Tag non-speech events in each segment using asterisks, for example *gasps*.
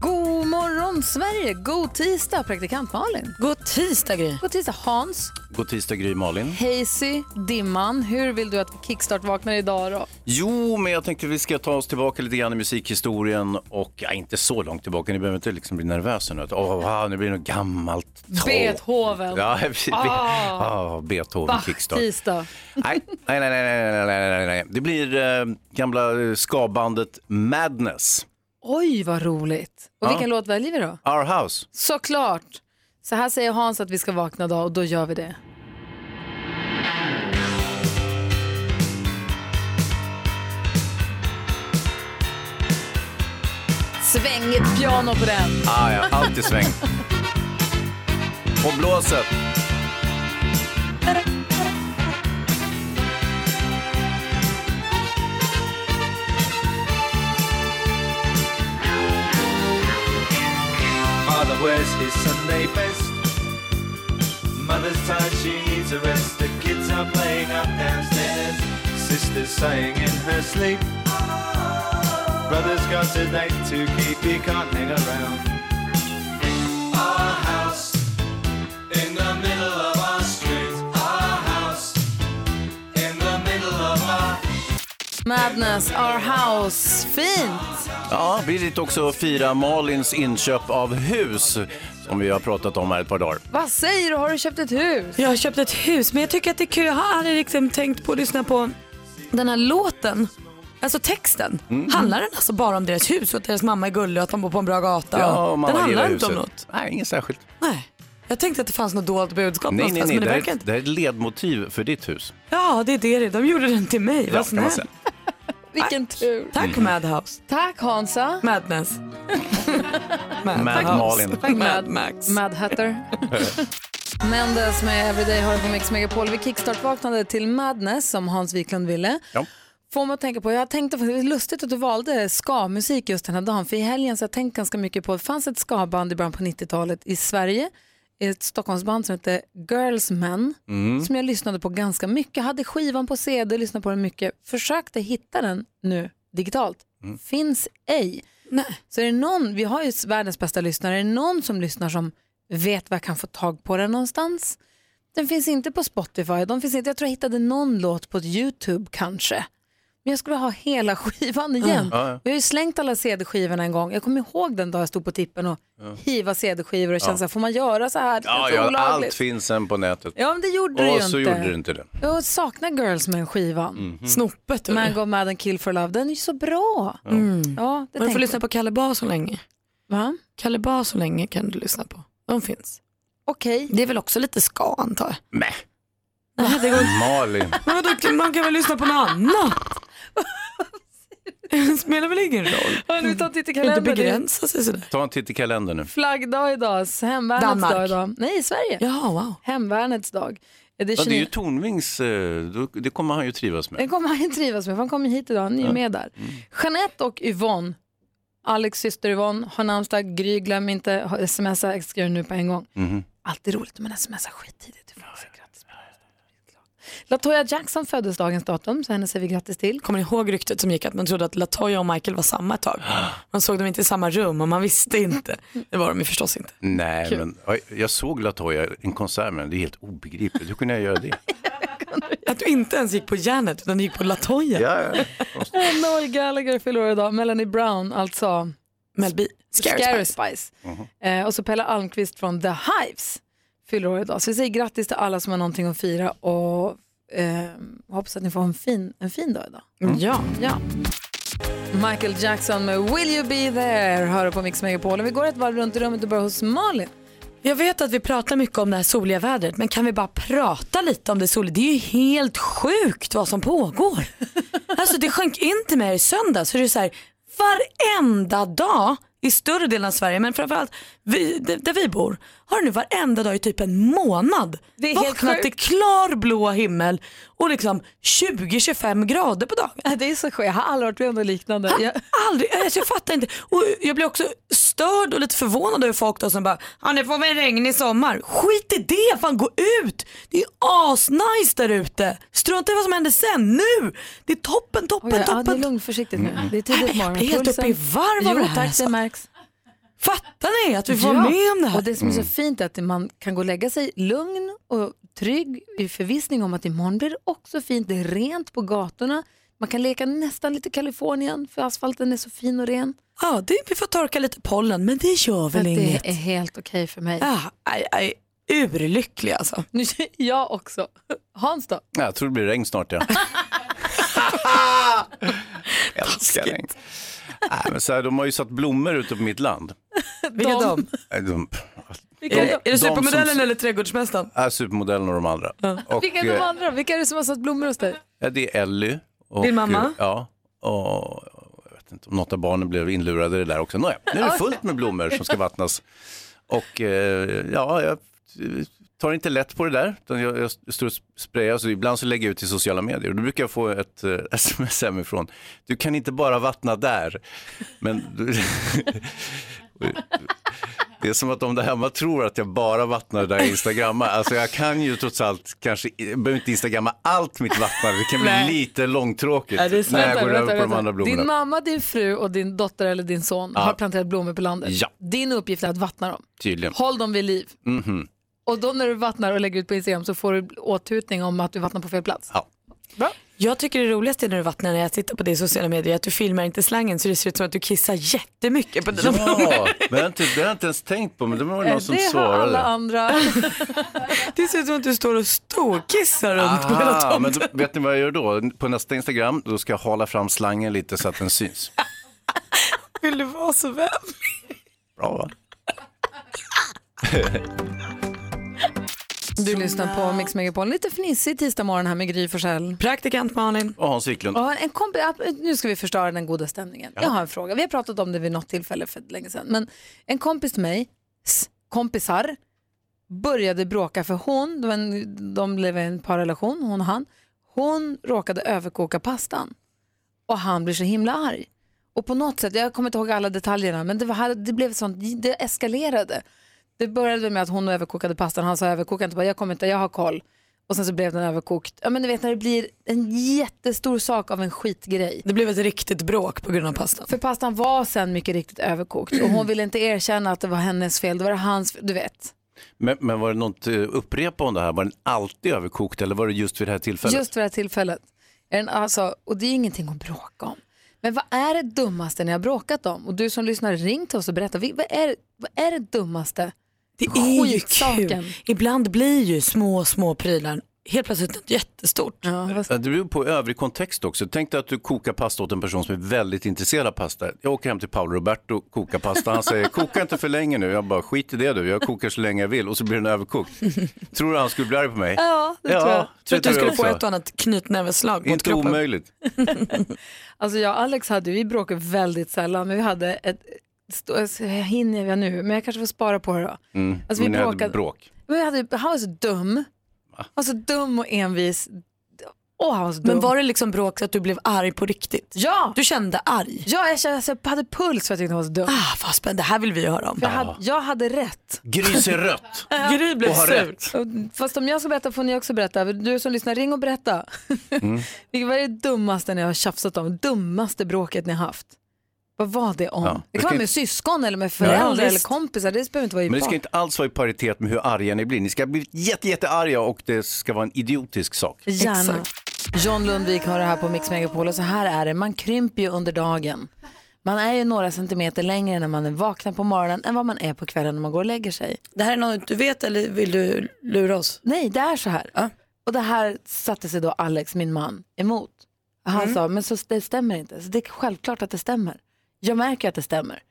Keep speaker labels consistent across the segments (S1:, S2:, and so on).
S1: God morgon Sverige! God tisdag praktikant Malin.
S2: God tisdag Gry.
S1: God tisdag Hans.
S3: God tisdag Gry Malin.
S1: Hazy, Dimman. Hur vill du att vi kickstart vaknar idag då?
S3: Jo, men jag tänkte vi ska ta oss tillbaka lite grann i musikhistorien och ja, inte så långt tillbaka. Ni behöver inte liksom bli nervösa nu. Att, Åh, wow, nu blir det något gammalt. tråkigt.
S1: Beethoven.
S3: Ja, *laughs* precis. Be-
S1: Ah.
S3: ah, Beethoven kickstart.
S1: Bach-tisdag.
S3: Nej, nej, nej, nej, nej, nej, nej, nej, nej. Det blir eh, gamla eh, skabandet Madness.
S1: Oj, vad roligt. Och
S3: Ja.
S1: vilken låt väljer vi då?
S3: Our House.
S1: Såklart! Så här säger Hans att vi ska vakna idag och då gör vi det. Svängigt piano på den.
S3: Ah, ja, allt i sväng. Och blåset.
S4: Father wears his Sunday best. Mother's tired, she needs a rest. The kids are playing up downstairs. Sister's sighing in her sleep. Brother's got a date to keep, he can't hang around. Our house in the middle of our street. Our house in the middle of our.
S1: *laughs* Madness, Our House. Fint!
S3: Ja, vi sitter också och firar Malins inköp av hus som vi har pratat om här ett par dagar.
S1: Vad säger du? Har du köpt ett hus?
S2: Jag har köpt ett hus men jag tycker att det är kul. Jag har aldrig liksom tänkt på att lyssna på den här låten. Alltså texten.
S3: Mm.
S2: Handlar den alltså bara om deras hus och att deras mamma är gullig och att de bor på en bra gata?
S3: och mamma
S2: den
S3: gillar
S2: handlar inte
S3: huset.
S2: om något.
S3: Nej, inget särskilt.
S2: Nej. Jag tänkte att det fanns något dolt budskap
S3: Nej, nej,
S2: någonstans
S3: nej.
S2: men
S3: Det
S2: det
S3: här,
S2: verkar
S3: är-
S2: inte.
S3: det här är ett ledmotiv för ditt hus.
S2: Ja det är det det är. De gjorde den till mig. Vad
S3: kan man
S2: snällt.
S1: Vilken tur. Mm.
S2: Tack Madhouse.
S1: Tack Hansa.
S2: Madness. Mad
S3: Mad
S2: House.
S3: Malin.
S2: Tack Mad Max.
S1: Mad Hatter. *laughs* Mendes med Everyday har på Mix Megapol. Vi kickstart-vaknade till Madness som Hans Wiklund ville.
S3: Ja.
S1: Får man att tänka på, jag tänkte, det är lustigt att du valde ska-musik just den här dagen, för i helgen så har jag tänkt ganska mycket på, det fanns ett ska-band i början på 90-talet i Sverige, ett Stockholmsband som hette Girls Men,
S3: Mm.
S1: som jag lyssnade på ganska mycket, hade skivan på CD, lyssnade på den mycket, försökte hitta den nu digitalt,
S3: Mm.
S1: finns ej.
S2: Nej.
S1: Så är det någon, vi har ju världens bästa lyssnare, är det någon som lyssnar som vet var jag kan få tag på den någonstans? Den finns inte på Spotify, de finns inte, jag tror jag hittade någon låt på YouTube kanske. Men jag skulle ha hela *laughs* skivan igen.
S3: Ja, ja.
S1: Jag har ju slängt alla CD-skivorna en gång. Jag kommer ihåg den dag jag stod på tippen och hiva CD-skivor och kände så här, får man göra så här? Det
S3: Ja,
S1: känns så
S3: ja, allt
S1: olagligt.
S3: finns sen på nätet.
S1: Ja, men det gjorde du ju
S3: och
S1: inte.
S3: så gjorde du inte det.
S1: Jag saknar Girls med skivan.
S3: Mhm.
S2: Snoppet. du.
S1: Mango Mad and Kill for Love, den är ju så bra.
S3: Mm.
S1: Ja, det
S2: Men du får
S1: tänkte
S2: lyssna på Kalle Bar så länge.
S1: Va?
S2: Kalle Bar så länge kan du lyssna på. De finns.
S1: Okej.
S2: Det är väl också lite ska antar jag.
S3: Nej,
S2: Nej,
S1: *laughs*
S2: det går inte.
S3: Malin.
S2: Men vadå, man kan väl lyssna på något annat? Det spelar väl ingen roll?
S1: Hörni, vi tar en titt i
S2: Man kan
S1: kalendern.
S2: inte begränsa sig sådär.
S3: Ta en titt i kalendern nu.
S1: Flaggdag idag, hemvärnets
S2: Danmark.
S1: dag idag. Nej, Sverige.
S2: Ja, wow.
S1: Hemvärnets dag. Det, är
S3: Ja, det är ju
S1: 29
S3: Tornvings, eh, då- det kommer han ju trivas med.
S1: Den kommer han ju trivas med, för han kommer hit idag. Ni är med där.
S3: Mm.
S1: Jeanette och Yvonne, Alex syster Yvonne, har namnsdag. Gry, glöm inte ha- smsa, skriv nu på en gång.
S3: Mm-hmm.
S1: Alltid roligt om man smsar skittidigt. ifrån sig. Grattis på födelsedagen. Latoya Jackson föddes dagens datum, så henne säger vi grattis till.
S2: Kommer ni ihåg ryktet som gick att man trodde att Latoya och Michael var samma ett
S3: *gasps*
S2: tag? Man såg dem inte i samma rum och man visste inte. Det var de ju förstås inte.
S3: Nej, men oj, jag såg Latoya i en konsert med henne. Det är helt obegripligt. Hur kunde jag göra det?
S2: Att du inte ens gick på järnet utan du gick på Latoya.
S3: Ja, ja.
S2: *laughs*
S1: Noel Gallagher fyller år idag, Melanie Brown, alltså
S2: Mel B. Scary
S1: Scary
S2: Spice.
S1: Spice.
S3: Mhm.
S1: Eh, och så Pelle Almqvist från The Hives fyller år idag. Så vi säger grattis till alla som har någonting att fira och eh, hoppas att ni får en fin, en fin dag idag.
S2: Ja.
S1: Ja. Michael Jackson med Will You Be There hör du på Mix Megapol. Och Vi går ett varv runt i rummet och börjar hos Malin.
S2: Jag vet att vi pratar mycket om det här soliga vädret men kan vi bara prata lite om det soliga? Det är ju helt sjukt vad som pågår.
S1: *laughs*
S2: Alltså det sjönk in till mig i söndags. Så det är så här, varenda dag i större delen av Sverige men framförallt vi, där där vi bor har det nu varenda dag i typ en månad
S1: Det är helt
S2: vaknat till
S1: sjukt.
S2: klarblå himmel och liksom 20-25 grader på dagen.
S1: Det är så skönt, jag har aldrig varit med om något liknande.
S2: Jag,
S1: Jag,
S2: aldrig, alltså jag fattar inte. Och jag blir också störd och lite förvånad över folk då som bara, ja nu får vi regn i sommar. Skit i det, fan gå ut. Det är asnice där ute. Strunta i vad som händer sen, nu. Det är toppen, toppen,
S1: Oj, ja, det är
S2: toppen.
S1: lugnt, försiktigt nu. Det är
S2: Nej,
S1: tidigt
S2: men jag
S1: på morgonen.
S2: blir helt
S1: Pulsen-
S2: uppe i varv av
S1: Jo
S2: det här.
S1: tack, det märks.
S2: Fattar ni att vi får vara med om det här?
S1: Och det som är
S3: Mm.
S1: så fint är att man kan gå och lägga sig lugn och trygg i förvissning om att imorgon blir det också fint. Det är rent på gatorna. Man kan leka nästan lite Kalifornien för asfalten är så fin och ren.
S2: Ja, det, vi får torka lite pollen men det gör
S1: Så att
S2: väl
S1: det
S2: inget.
S1: är helt okej för mig.
S2: Ja, aj, aj, urlycklig alltså.
S1: Nu, *laughs* jag också. Hans då?
S3: Ja, Jag tror det blir regn
S2: *laughs*
S3: snart ja. Jag älskar regn. Nej, men så här, de har ju satt blommor ute på mitt land.
S2: Vilka
S1: Dom.
S2: dom?
S3: Nej, De,
S1: Vilka är,
S3: de-
S1: de,
S2: Är det
S3: de som-
S2: supermodellen eller trädgårdsmästaren?
S3: Ja, supermodellen och de andra. Och,
S1: vilka är de
S3: eh,
S1: andra? Vilka är det som har satt blommor hos dig?
S3: Ja, det är Elly. Och,
S2: Din mamma?
S3: eh, Ja. Och, jag vet inte om något av barnen blev inlurade i det där också. Nåja, nu är
S2: *laughs*
S3: det fullt med blommor som ska vattnas. Och eh, ja, jag tar inte lätt på det där. Utan jag, jag står och sprayar, så ibland så lägger jag ut i sociala medier. Och då brukar jag få ett eh, *laughs* sms hemifrån. Du kan inte bara vattna där. Men... *laughs* Det är som att de där hemma tror att jag bara vattnar där jag instagrammar. Alltså jag kan ju trots allt kanske, jag behöver inte instagramma allt mitt vattnande. Det kan bli
S2: Nej.
S3: lite långtråkigt
S2: Ja, det är sant.
S3: när jag
S1: Vänta,
S3: går
S1: vänta,
S3: över på de
S1: vänta.
S3: andra blommorna.
S1: Din mamma, din fru och din dotter eller din son har planterat blommor på landet.
S3: Ja.
S1: Din uppgift är att vattna dem.
S3: Tydligen.
S1: Håll dem vid liv.
S3: Mhm.
S1: Och då när du vattnar och lägger ut på Instagram så får du åthutning om att du vattnar på fel plats.
S3: Ja.
S2: Jag tycker det roligaste när du vattnar när jag tittar på det i sociala medier är att du filmar inte slangen så det ser ut som att du kissar jättemycket på dina
S3: Ja, men jag har inte, det har jag inte ens tänkt på, men det var någon som
S1: det har alla
S3: svarade.
S2: *laughs*
S1: andra.
S2: Det ser ut som att du står och storkissar runt på hela
S3: Ah, men
S2: tomten.
S3: då, vet ni vad jag gör då? På nästa Instagram, då ska jag hala fram slangen lite så att den syns.
S2: Vill du vara så vän?
S3: Bra
S1: *laughs*
S3: va?
S1: Du lyssnar på Mix Megapol. Lite fnissig tisdag morgon här med Gry Forssell.
S2: Praktikant Malin.
S3: Och Hans Wiklund.
S1: Ja, en komp- ja, nu ska vi förstöra den goda stämningen. Jag har en fråga. Vi har pratat om det vid något tillfälle för länge sedan. Men en kompis till mig, s- kompisar, började bråka för hon, det var en- de blev i en parrelation, hon och han. Hon råkade överkoka pastan och han blir så himla arg. Och på något sätt, jag kommer inte ihåg alla detaljerna, men det, var, här- det blev sånt, det eskalerade. Det började med att hon överkokade pastan, han sa överkoka inte, bara, jag kommer inte, jag har koll. Och sen så blev den överkokt. Ja men du vet när det blir en jättestor sak av en skitgrej.
S2: Det blev ett riktigt bråk på grund av pastan.
S1: För pastan var sen mycket riktigt överkokt och hon ville inte erkänna att det var hennes fel, det var det hans fel, du vet.
S3: Men, men var det något eh, upprepa om det här? Var den alltid överkokt eller var det just vid det här tillfället?
S1: Just för det här tillfället. Är den alltså, och det är ingenting att bråka om. Men vad är det dummaste ni har bråkat om? Och du som lyssnar, ring till oss och berätta. Vi- Vad är, vad är det dummaste?
S2: Det är ju
S1: Skitsaken.
S2: kul. Ibland blir ju små, små prylar helt plötsligt något jättestort.
S1: Ja, vad-
S3: Ja, Eh, Det beror på övrig kontext också. Tänk dig att du kokar pasta åt en person som är väldigt intresserad av pasta. Jag åker hem till Paolo Roberto och kokar pasta. Han säger, koka inte för länge nu. Jag bara, skit i det du. Jag kokar så länge jag vill och så blir den överkokt. Tror du han skulle bli arg på mig?
S1: ja, det
S3: Ja,
S1: tror jag.
S2: Tror att du
S3: det
S2: skulle
S3: också.
S2: få ett och annat knytnäveslag mot
S3: Inte
S2: kroppen.
S3: omöjligt.
S1: Alltså jag och Alex hade, vi bråkar väldigt sällan, men vi hade ett, stå- jag hinner jag nu, men jag kanske får spara på det då.
S3: Mm.
S1: Alltså, vi
S3: Men ni hade
S1: bråkade-
S3: bråk.
S1: Men vi hade, han var så dum, han var så dum och envis. Åh, han var så dum.
S2: Men var det liksom bråk så att du blev arg på riktigt?
S1: Ja,
S2: Du kände arg?
S1: ja jag, kände, alltså, jag hade puls för att jag tyckte han var så dum.
S2: Ah, vad spännande, det här vill vi höra om.
S1: För jag, hade, jag hade rätt.
S3: Gris
S2: *laughs*
S3: är rött.
S2: Gry blev
S3: Och har
S2: sur.
S3: rätt.
S1: Och- Fast om jag ska berätta får ni också berätta. Du som lyssnar, ring och berätta.
S3: Mm.
S1: Vilket var *laughs* det dummaste ni har tjafsat om? Dummaste bråket ni har haft? Vad var det om?
S3: Ja,
S1: det
S3: det
S1: kan
S3: ska
S1: vara
S3: inte-
S1: med syskon eller med föräldrar
S2: Ja,
S1: eller
S2: visst.
S1: kompisar. Det behöver inte vara i
S3: Men det
S1: par.
S3: ska inte alls vara i paritet med hur arga ni blir. Ni ska ha blivit jätte, jättearga och det ska vara en idiotisk sak.
S1: Gärna.
S2: Exakt.
S1: John Lundvik har det här på Mix Megapol och så här är det, man krymper ju under dagen. Man är ju några centimeter längre när man vaknar på morgonen än vad man är på kvällen när man går och lägger sig.
S2: Det här är något du vet eller vill du lura oss?
S1: Nej, det är så här.
S2: Ja.
S1: Och det här satte sig då Alex, min man, emot. Han
S2: Mm.
S1: sa, men så det stämmer inte. Så det är självklart att det stämmer. Jag märker att det stämmer.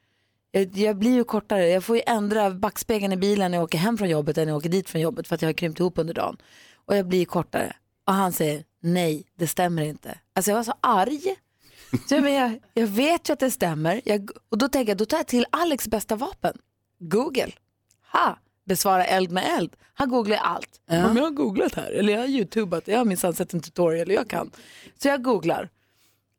S1: Jag, jag blir ju kortare, jag får ju ändra backspegeln i bilen när jag åker hem från jobbet än när jag åker dit från jobbet för att jag har krympt ihop under dagen. Och jag blir kortare. Och han säger, nej, det stämmer inte. Alltså jag var så arg. Så jag, men jag, jag vet ju att det stämmer. Jag, och då tänker jag, då tar jag till Alex bästa vapen. Google. Ha! Besvara eld med eld. Han googlar allt. Om jag har googlat här, eller jag har youtubat, jag har minsann sett en tutorial, jag kan. Så jag googlar.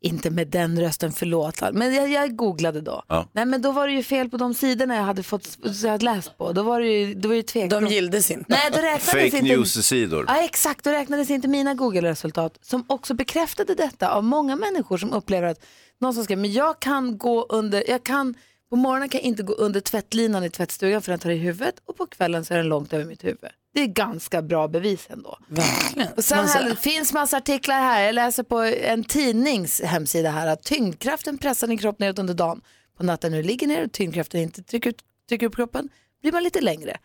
S1: Inte med den rösten, förlåt. Men jag, jag googlade då.
S3: Ja.
S1: Nej men då var det ju fel på de sidorna jag hade fått, så jag hade läst på. Då var det ju, då var det ju tveksamt.
S5: De gildes inte.
S1: Nej, då räknades
S3: Fake
S1: inte.
S3: news-sidor.
S1: Ja, exakt. Då räknades inte mina Google-resultat som också bekräftade detta av många människor som upplever att någon som skrev, men jag kan gå under, jag kan, på morgonen kan jag inte gå under tvättlinan i tvättstugan för den tar i huvudet och på kvällen så är den långt över mitt huvud. Det är ganska bra bevis ändå.
S5: Verkligen.
S1: Och sen här, det finns massa artiklar här. Jag läser på en tidnings hemsida här att tyngdkraften pressar din kropp neråt under dagen. På natten när du ligger ner och tyngdkraften inte trycker, ut- trycker upp kroppen blir man lite längre.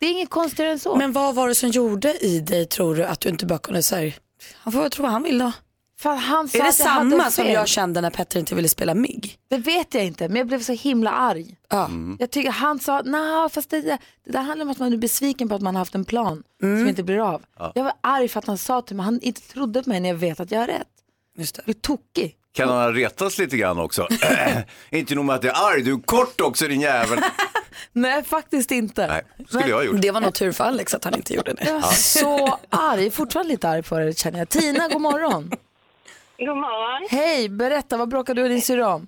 S1: Det är inget konstigare än så.
S5: Men vad var det som gjorde i dig tror du att du inte bara kunde säga, han får väl tro vad han vill då.
S1: Fan, han sa
S5: Är det
S1: att jag hade
S5: samma som
S1: fel.
S5: jag kände när Petter inte ville spela MIG?
S1: Det vet jag inte, men jag blev så himla arg.
S3: Mm.
S1: Jag tycker han sa, nej fast det, där- det där handlar om att man är besviken på att man har haft en plan som inte blir av. Jag var arg för att han sa till mig, han inte trodde på mig när jag vet att jag har rätt.
S5: Just det.
S1: Jag blev tokig.
S3: Kan han ha retats lite grann också? *clears throat* inte nog med att jag är arg, du är kort också din jävel.
S1: Nej, faktiskt inte.
S3: Nej, skulle jag ha gjort.
S5: Det var nog tur för Alex liksom att han inte gjorde det.
S1: Jag var så arg, fortfarande lite arg på det känner jag. Tina, god *laughs* morgon.
S6: God morgon.
S1: Hej, berätta, vad bråkade du och din syrra om?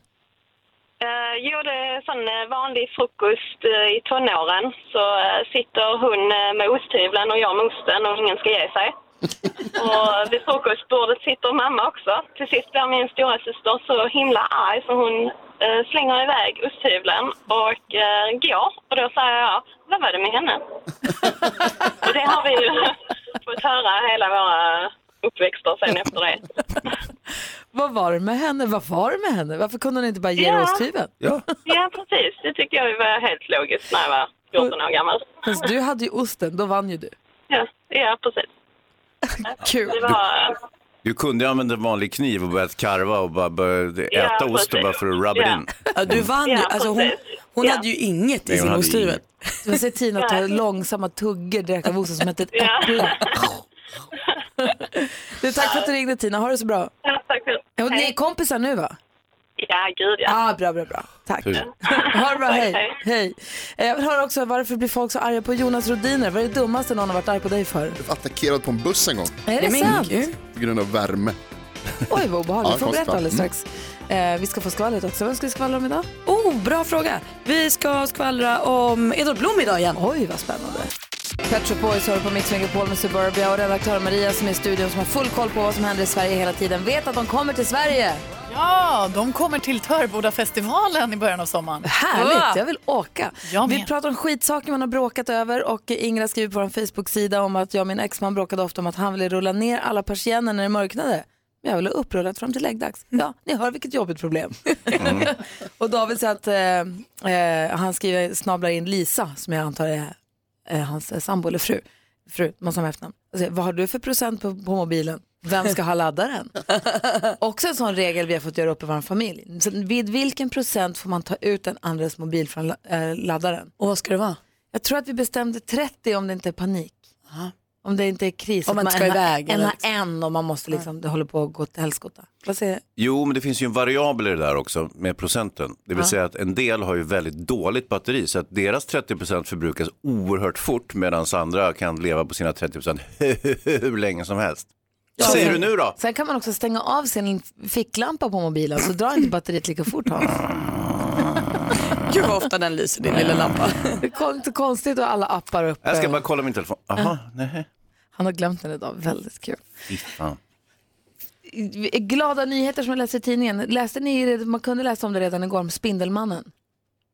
S6: Eh, gjorde sån eh, vanlig frukost eh, i tonåren. Så eh, sitter hon eh, med osthyveln och jag med osten och ingen ska ge
S1: *laughs*
S6: sig. och vid frukostbordet sitter mamma också. Till sist blir min stora syster så himla arg så hon eh, slänger iväg osthyveln och eh, går. Och då säger jag, vad var det med
S1: *laughs*
S6: henne? och det har vi ju *laughs* fått höra hela våra uppväxter sen efter det.
S1: Vad var det med henne? Vad var det med henne? Varför kunde hon inte bara ge dig
S6: Ja.
S1: osthyveln?
S3: Ja.
S6: Ja, precis. Det tycker jag var helt logiskt när jag var 14 år gammal.
S1: Fast du hade ju osten, då vann
S6: *laughs*
S1: ju du.
S6: Ja, ja precis.
S1: Kul.
S6: Det var...
S3: Du kunde ju använda en vanlig kniv och börjat karva och bara börja
S6: Ja,
S3: äta ost och
S6: precis.
S3: bara för att rubba
S6: Ja.
S3: in.
S5: Ja, du vann ju.
S6: Ja,
S5: Alltså, hon
S6: precis.
S5: hon
S6: Ja.
S5: hade ju inget i
S3: Nej, hon
S5: sin
S3: hade
S5: osthyvel.
S3: inget.
S1: Man ser Tina ta
S6: Nej.
S1: långsamma tuggor direkt av osten som ett litet
S6: Ja.
S1: äpple. *laughs* Du, tack för att du ringde Tina, ha det så bra.
S6: Ja, tack för
S1: Ja, och Ni är
S6: Hej.
S1: kompisar nu va?
S6: Ja, gud ja.
S1: Ah, bra, bra, bra. Tack.
S3: Tur.
S1: *laughs* Ha det bra,
S6: Tack,
S1: hej.
S6: hej.
S1: hej. Eh, Jag vill höra också varför blir folk så arga på Jonas Rhodiner? Vad är det dummaste någon har varit arg på
S3: *laughs*
S1: dig för?
S7: attackerad på en buss en gång
S1: Är det
S5: Nej,
S1: sant?
S5: gud.
S7: på grund av värme.
S1: Oj vad obehagligt,
S7: Ja,
S1: får berätta
S7: konstigt.
S1: alldeles strax.
S3: Mm.
S1: Eh, vi ska få skvallret också. Vem ska vi skvallra om idag?
S5: Oh, bra fråga. Vi ska skvallra om Edvard Blom idag igen.
S1: Oj, vad spännande. Pet Shop Boys hör på Mix Megapol med Suburbia och redaktör Maria som är i studion som har full koll på vad som händer i Sverige hela tiden vet att de kommer till Sverige.
S8: Ja, de kommer till Törboda-festivalen i början av sommaren.
S1: Härligt,
S5: Ja.
S1: jag vill åka.
S8: Jag med.
S1: Vi pratar om skitsaker man har bråkat över och Ingrid skriver på vår Facebook-sida om att jag och min exman bråkade ofta om att han ville rulla ner alla persienner när det mörknade. Men jag ville ha upprullat fram till läggdags. Ja, ni hör vilket jobbigt problem.
S5: Mm.
S1: *laughs* och David säger att eh, eh, han skriver, snablar in Lisa som jag antar är eh, hans eh, sambo eller fru. Fru, måste ha med efternamn. Alltså, vad har du för procent på, på mobilen? Vem ska
S5: *laughs*
S1: ha laddaren? Också en sån regel vi har fått göra upp i vår familj. Så vid vilken procent får man ta ut den andres mobil från la- eh, laddaren?
S5: Och vad ska det vara?
S1: Jag tror att vi bestämde 30 om det inte är panik. Om det inte är kris.
S5: Om man
S1: att
S5: inte ska
S1: en har-
S5: iväg
S1: En
S5: eller
S1: har en och man måste liksom, det håller på att gå till helskotta. Vad säger
S3: Jo, men det finns ju en variabel i det där också med procenten. Det vill säga att en del har ju väldigt dåligt batteri så att deras 30 förbrukas oerhört fort medan andra kan leva på sina 30 *laughs* hur länge som helst. Vad säger du nu då?
S1: Sen kan man också stänga av sin ficklampa på mobilen så drar inte batteriet lika
S3: *laughs*
S1: fort Hans.
S5: Gud vad ofta den lyser din lilla lampa.
S1: Det är inte konstigt att alla appar upp.
S3: Jag ska bara kolla min telefon. Aha, nej.
S1: Han har glömt den idag, väldigt kul.
S3: Fy fan.
S1: Glada nyheter som jag läste i tidningen. Läste ni, man kunde läsa om det redan igår, om Spindelmannen.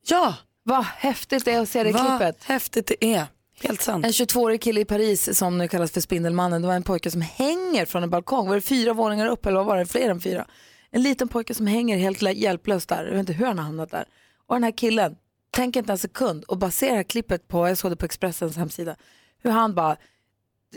S5: Ja,
S1: Vad häftigt det är att se det
S5: vad
S1: klippet.
S5: häftigt det är. Helt sant.
S1: En 22-årig kille i Paris som nu kallas för Spindelmannen, det var en pojke som hänger från en balkong. Var det fyra våningar upp eller vad var det? Fler än fyra. En liten pojke som hänger helt lä- hjälplös där. Jag vet inte hur han har hamnat där. Och den här killen, tänker inte en sekund och baserar klippet på, jag såg det på Expressens hemsida, hur han bara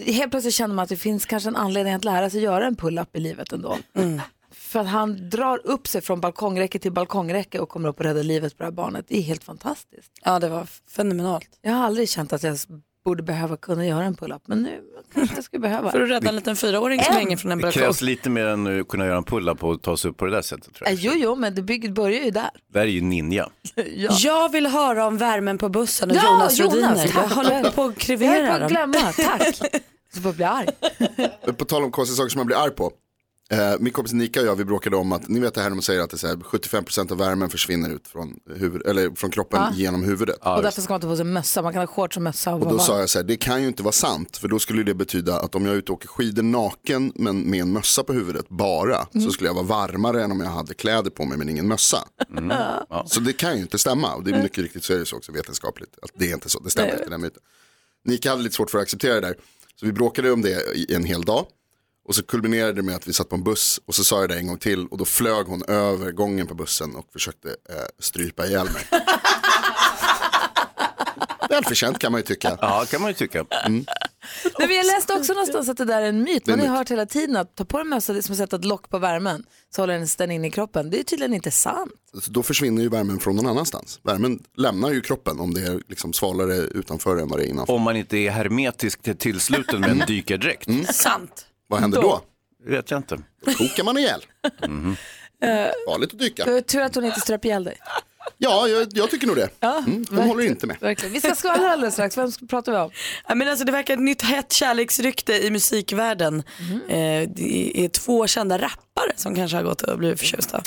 S1: Helt plötsligt känner man att det finns kanske en anledning att lära sig göra en pull-up i livet ändå.
S2: Mm.
S1: För att han drar upp sig från balkongräcke till balkongräcke och kommer upp och räddar livet på det här barnet. Det är helt fantastiskt.
S5: Ja, det var fenomenalt.
S1: Jag har aldrig känt att jag s- borde behöva kunna göra en pull-up, men nu kanske jag skulle behöva.
S5: För att rädda en liten fyraåring som hänger från en
S3: Det
S5: balkong.
S3: krävs lite mer än att kunna göra en pull-up och ta sig upp på det där sättet. Tror jag.
S1: Äh, Jo, jo, men det bygget börjar ju där.
S3: Det här är ju ninja.
S1: Ja.
S5: Jag vill höra om värmen på bussen och
S1: Ja,
S5: Jonas
S1: Jonas,
S5: Rhodiner.
S1: tack.
S5: Jag håller på att krevera
S1: Jag är på att
S5: dem.
S1: glömma, tack.
S5: *laughs*
S1: Så får bli arg.
S7: På tal om konstiga saker som man blir arg på. Eh, min kompis Nika och jag vi bråkade om att, ni vet det här när man säger att det är så här, 75% av värmen försvinner ut från, huvud, eller från kroppen
S1: Ja.
S7: genom huvudet.
S1: och därför ska man inte ha på sig mössa, man kan ha shorts och mössa.
S7: Och då
S1: bara-
S7: sa jag så här, det kan ju inte vara sant, för då skulle det betyda att om jag är ute och åker skidor naken men med en mössa på huvudet bara,
S1: Mm.
S7: så skulle jag vara varmare än om jag hade kläder på mig men ingen mössa.
S1: Mm.
S7: Så det kan ju inte stämma, och det är mycket riktigt så är det så också vetenskapligt, att det är inte så, det stämmer
S9: Nej.
S7: inte. Den myten. Nika hade lite svårt för att acceptera det där, så vi bråkade om det i en hel dag. Och så kulminerade det med att vi satt på en buss och så sa jag det en gång till och då flög hon över gången på bussen och försökte eh, strypa ihjäl mig. *laughs* Välförtjänt kan man ju tycka.
S3: Ja, kan man ju tycka.
S7: Mm.
S1: Nej, men jag läste också någonstans att det där är en myt.
S7: Det är
S1: Man har ju
S7: myt.
S1: hört hela tiden att ta på en mössa, det är som att sätta ett lock på värmen, så håller den den inne i kroppen. Det är tydligen inte sant.
S7: Så då försvinner ju värmen från någon annanstans. Värmen lämnar ju kroppen om det är liksom svalare utanför än vad det är innanför.
S3: Om man inte är hermetiskt till- tillsluten med en dykardräkt.
S5: Sant.
S7: Vad händer då?
S3: Det vet jag inte.
S7: Då kokar man ihjäl.
S1: Eh,
S7: Farligt att dyka.
S1: det var tur att hon inte ströp ihjäl dig.
S7: Ja, jag, jag tycker nog det. Mm, de håller inte med.
S1: Verkligen. Vi ska skvallra alldeles strax. Vem ska- pratar vi om?
S2: Ja, men alltså, det verkar ett nytt hett kärleksrykte i musikvärlden.
S1: Mhm.
S2: Eh, det är två kända rappare som kanske har gått och blivit förtjusta.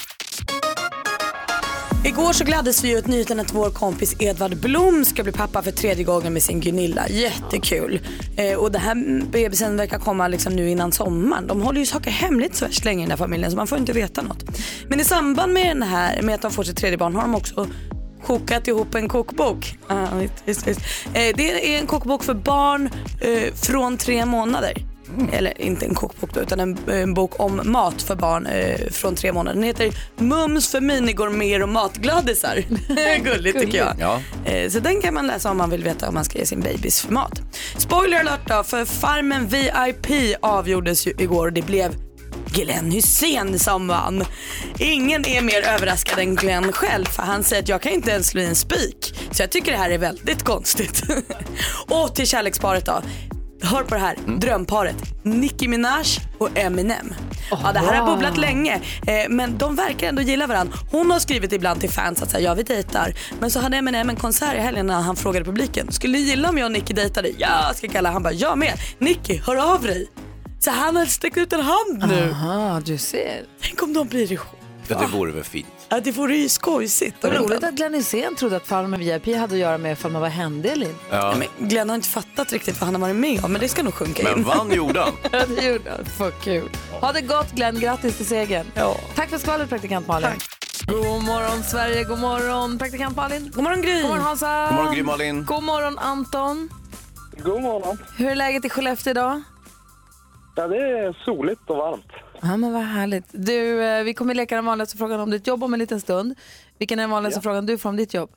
S2: Igår så gladdes vi ju åt nyheten att vår kompis Edvard Blom ska bli pappa för tredje gången med sin Gunilla. Jättekul. Eh, och den här bebisen verkar komma liksom nu innan sommaren. De håller ju saker hemligt så värst länge i den här familjen så man får inte veta något. Men i samband med, den här, med att de får sitt tredje barn har de också kokat ihop en kokbok. Ah, visst, visst, visst. Eh, det är en kokbok för barn eh, från tre månader. Eller inte en kokbok då, utan en, en bok om mat för barn eh, från tre månader. Den heter Mums för minigourmeter och matgladdisar. *laughs* Gulligt tycker jag.
S3: Ja.
S2: Eh, Så den kan man läsa om man vill veta om man ska ge sin babys för mat. Spoiler alert då, för Farmen VIP avgjordes ju igår och det blev Glenn Hussein som vann. Ingen är mer överraskad än Glenn själv för han säger att jag kan inte ens slå i en spik. Så jag tycker det här är väldigt konstigt. *laughs* och till kärleksparet då. Hör på det här, drömparet. Nicki Minaj och Eminem. ja, det här har
S5: wow.
S2: bubblat länge eh, men de verkar ändå gilla varandra. Hon har skrivit ibland till fans att säga, ja vi dejtar. Men så hade Eminem en konsert i helgen när han frågade publiken, skulle ni gilla om jag och Nicki dejtade? Ja, ska kalla. Han bara, jag med. Nicki, hör av dig. Så han har sträckt ut en hand nu.
S1: Aha, du ser.
S2: Tänk om de blir ihop.
S3: Ja, det vore väl fint.
S2: Ja, det vore ju skojsigt.
S1: Vad roligt att Glenn Hysén trodde att Farmen VIP hade att göra med ifall man var händig eller inte.
S3: Ja.
S2: Men Glenn har inte fattat riktigt vad han har varit med om, men det ska nog sjunka in.
S3: Men vann
S2: *laughs*
S3: gjorde han.
S1: Ja, det gjorde han. Fuck kul. Ha det gott Glenn, grattis till segern. Tack för skvallret praktikant Malin. God morgon Sverige, god morgon praktikant Malin.
S2: God morgon Gry.
S1: God morgon Hansa.
S3: God morgon, Gry Malin.
S1: God morgon Anton.
S10: God morgon.
S1: Hur är läget i Skellefteå idag?
S10: Ja, det är soligt och varmt.
S1: Ja men vad härligt. Du, eh, vi kommer leka den vanligaste frågan om ditt jobb om en liten stund. Vilken är den vanligaste frågan du får om ditt jobb?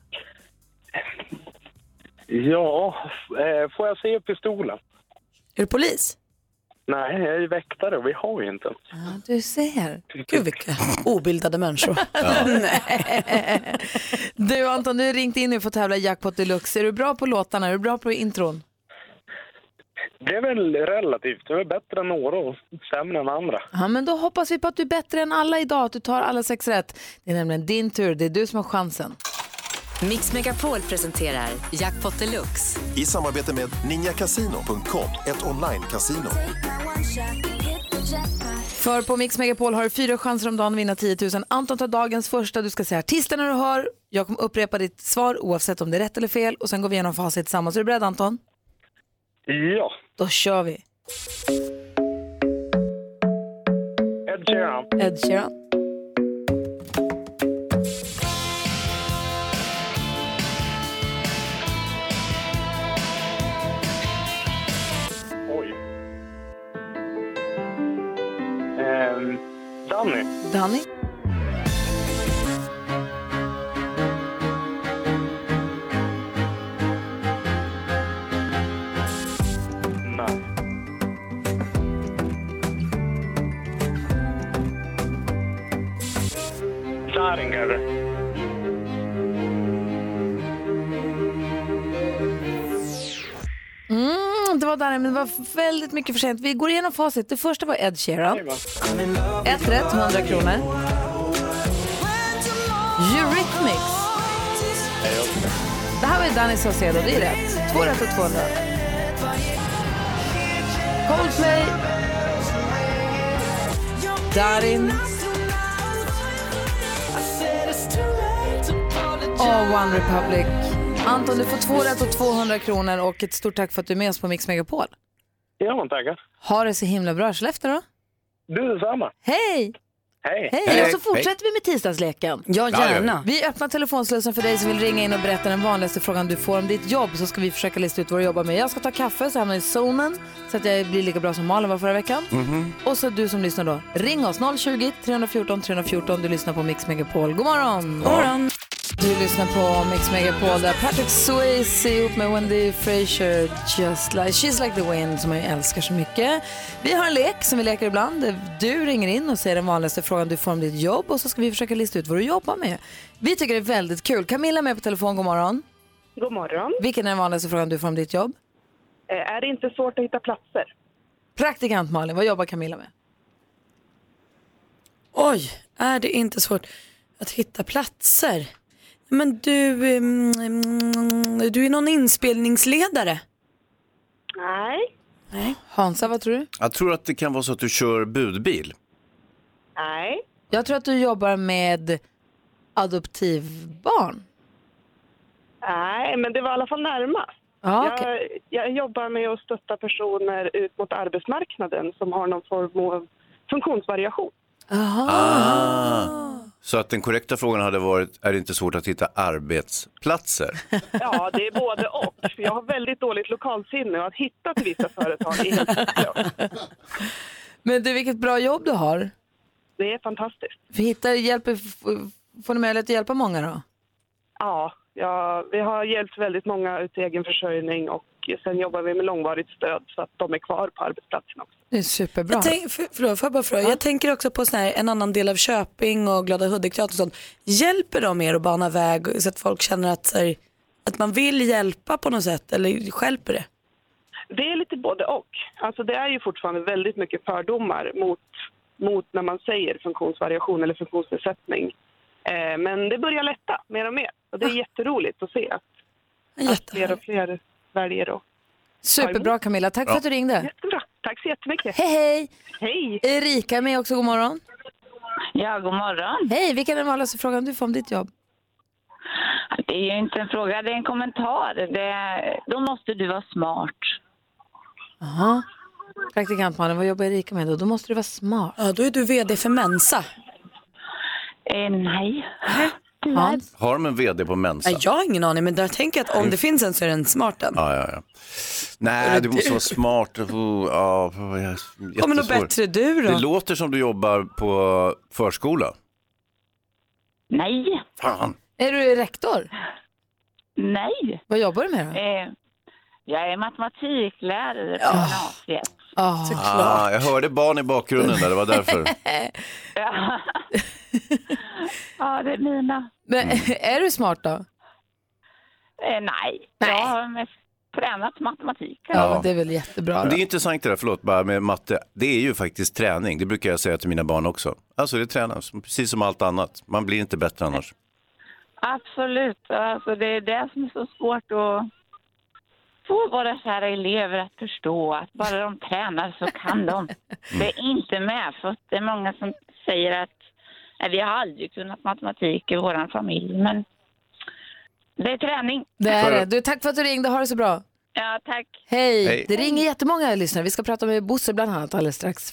S10: Ja, eh, får jag se pistolen?
S2: Är du polis?
S10: Nej, jag är ju väktare och vi har ju inte.
S1: Ja, du ser.
S2: Gud vilka obildade människor.
S1: Nej. Du Anton, du har ringt in nu för att tävla i Jackpot Deluxe. Är du bra på låtarna? Är du bra på intron?
S10: Det är väl relativt. Det är väl bättre än några och sämre än andra.
S1: Ja, men då hoppas vi på att du är bättre än alla idag, att du tar alla sex rätt. Det är nämligen din tur, det är du som har chansen.
S11: Mix Megapol presenterar Jackpot Deluxe.
S12: I samarbete med ninjakasino.com, ett online-casino.
S1: För på Mix Megapol har du fyra chanser om dagen att vinna 10 000. Anton tar dagens första, du ska säga artisten när du hör. Jag kommer upprepa ditt svar oavsett om det är rätt eller fel och sen går vi igenom facit tillsammans. Är du beredd Anton?
S10: Ja,
S1: Då kör vi.
S10: Ed Sheeran.
S1: Ed Sheeran,
S10: Oj. Ehm, Danny.
S1: Danny,
S10: Nej. Zaringar.
S1: varje, men Mm, det var väldigt mycket för sent. Vi går igenom facit. Det första var Ed Sheeran. Ett rätt, 100 kronor. Eurythmics. Det här var ju Danny Saucedo, det är rätt. Två rätt och 200. Coldplay. Darin. Och One Republic. Anton, du får två rätt och 200 kronor och ett stort tack för att du är med oss på Mix Megapol.
S10: Ja, men tackar.
S1: Ha det så himla bra. Skellefteå då?
S10: Du detsamma.
S1: Hej!
S10: Hej!
S1: Hej, och så fortsätter vi med tisdagsleken.
S10: Ja, Ja, gärna. gör
S1: Vi öppnar telefonslussen för dig som vill ringa in och berätta den vanligaste frågan du får om ditt jobb så ska vi försöka lista ut vad du jobbar med. Jag ska ta kaffe så jag hamnar i zonen så att jag blir lika bra som Malin var förra veckan. Och så du som lyssnar då, ring oss 020-314 314. Du lyssnar på Mix Megapol. God morgon!
S2: God morgon.
S1: Du lyssnar på Mix Megapol där Patrick Swayze ihop med Wendy Frazier, Just like, She's like the wind som jag älskar så mycket. Vi har en lek som vi leker ibland. Du ringer in och säger den vanligaste frågan du får om ditt jobb och så ska vi försöka lista ut vad du jobbar med. Vi tycker det är väldigt kul. Camilla är med på telefon, god morgon.
S9: God morgon.
S1: Vilken är den vanligaste frågan du får om ditt jobb?
S9: Mm. Eh, Är det inte svårt att hitta platser?
S1: Praktikant Malin, vad jobbar Camilla med?
S5: Oj, är det inte svårt att hitta platser?
S2: Men du, ehm, mm, du är någon inspelningsledare?
S9: Nej.
S2: Nej.
S1: Hansa, vad tror du?
S3: Jag tror att det kan vara så att du kör budbil.
S9: Nej.
S1: Jag tror att du jobbar med adoptivbarn.
S9: Nej, men det var i alla fall närmast.
S1: Ja,
S9: jag, jag jobbar med att stötta personer ut mot arbetsmarknaden som har någon form av *laughs* funktionsvariation.
S3: Ah. Så att den korrekta frågan hade varit, är det inte svårt att hitta arbetsplatser?
S9: Ja, det är både och. För Jag har väldigt dåligt lokalsinne och att hitta till vissa företag är helt
S1: Men du, vilket bra jobb du har.
S9: Det är fantastiskt.
S1: Vi hittar, hjälper, f- får ni möjlighet att hjälpa många då?
S9: Ja, ja, vi har hjälpt väldigt många ut i egen försörjning och sen jobbar vi med långvarigt stöd så att de är kvar på arbetsplatsen också.
S1: Det är superbra.
S2: Jag tänk, för, förlåt, får jag bara fråga? Jag tänker också på sån här, en annan del av Köping och Glada Hudik-teatern och sånt. Hjälper de er att bana väg så att folk känner att, så här, att man vill hjälpa på något sätt eller stjälper det?
S9: Det är lite både och. Alltså det är ju fortfarande väldigt mycket fördomar mot, mot när man säger funktionsvariation eller funktionsnedsättning. Eh, men det börjar lätta mer och mer och det är jätteroligt att se att, att fler och fler väljer att
S1: Superbra Camilla, tack för att du ringde.
S9: Jättebra. Tack så jättemycket.
S1: Hej hej!
S9: Hej!
S1: Erika är med också, god morgon.
S13: Ja, god morgon.
S1: Hej, vilken är den vanligaste frågan du får om ditt jobb?
S13: Det är ju inte en fråga, det är en kommentar. Det, då måste du vara smart.
S1: Aha. Praktikantmannen, vad jobbar Erika med då? Då måste du vara smart.
S2: Ja, då är du vd för Mensa.
S13: Eh, nej.
S2: Hans?
S3: Har de en vd på Mensa?
S2: Nej, jag har ingen aning men jag tänker att om det finns en så är den smart den.
S3: Ja, ja, ja. Nej, du måste vara smart. Oh, ja, jättesvår.
S2: Kommer något bättre du då?
S3: Det låter som du jobbar på förskola.
S13: Nej.
S3: Fan.
S1: Är du rektor?
S13: Nej.
S1: Vad jobbar du med då?
S13: Eh, jag är matematiklärare på
S1: Ja.
S13: gymnasiet.
S1: Oh.
S3: Ah, jag hörde barn i bakgrunden där, det var *laughs*
S13: *laughs*
S3: därför.
S13: Eh, ja. ja, det är mina.
S1: Men *laughs* är du smart då?
S13: Eh, nej. jag har mest tränat matematik.
S1: Ja, men det är väl jättebra.
S3: Men
S1: Då.
S3: Det är intressant det där, förlåt, bara med matte. Det är ju faktiskt träning, det brukar jag säga till mina barn också. Alltså det tränas, precis som allt annat. Man blir inte bättre annars.
S13: Absolut. Alltså, det är det som är så svårt att få våra kära elever att förstå att bara de tränar så kan
S1: *laughs*
S13: de. Det är inte medfött. Det är många som säger att nej, vi har aldrig kunnat matematik i vår familj, men det är träning.
S1: Det är det. Du, tack för att du ringde, ha det så bra.
S13: Ja, tack.
S1: Hej.
S13: Hej.
S1: Det ringer jättemånga lyssnare. Vi ska prata med Bosse bland annat alldeles strax.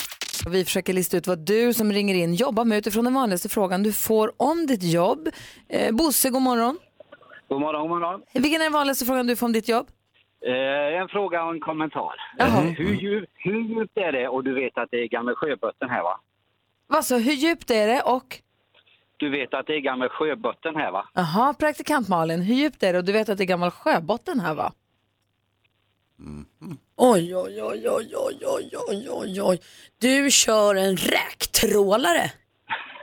S1: Vi försöker lista ut vad du som ringer in jobbar med utifrån den vanligaste frågan du får om ditt jobb. Eh, Bosse, god morgon.
S14: God morgon, god morgon.
S1: Vilken är den vanligaste frågan du får om ditt jobb?
S14: Eh, en fråga och en kommentar. Eh, Hur, djup, hur djupt är det? Och du vet att det är gamla sjöbotten här va?
S1: Alltså, hur djupt är det och?
S14: Du vet att det är gamla sjöbotten här va?
S1: Jaha, praktikant Malin, hur djupt är det? Och du vet att det är gammal sjöbotten här va?
S3: Mm-hmm.
S5: Oj, oj, oj, oj, oj, oj, oj, oj, oj. Du kör en räktrålare.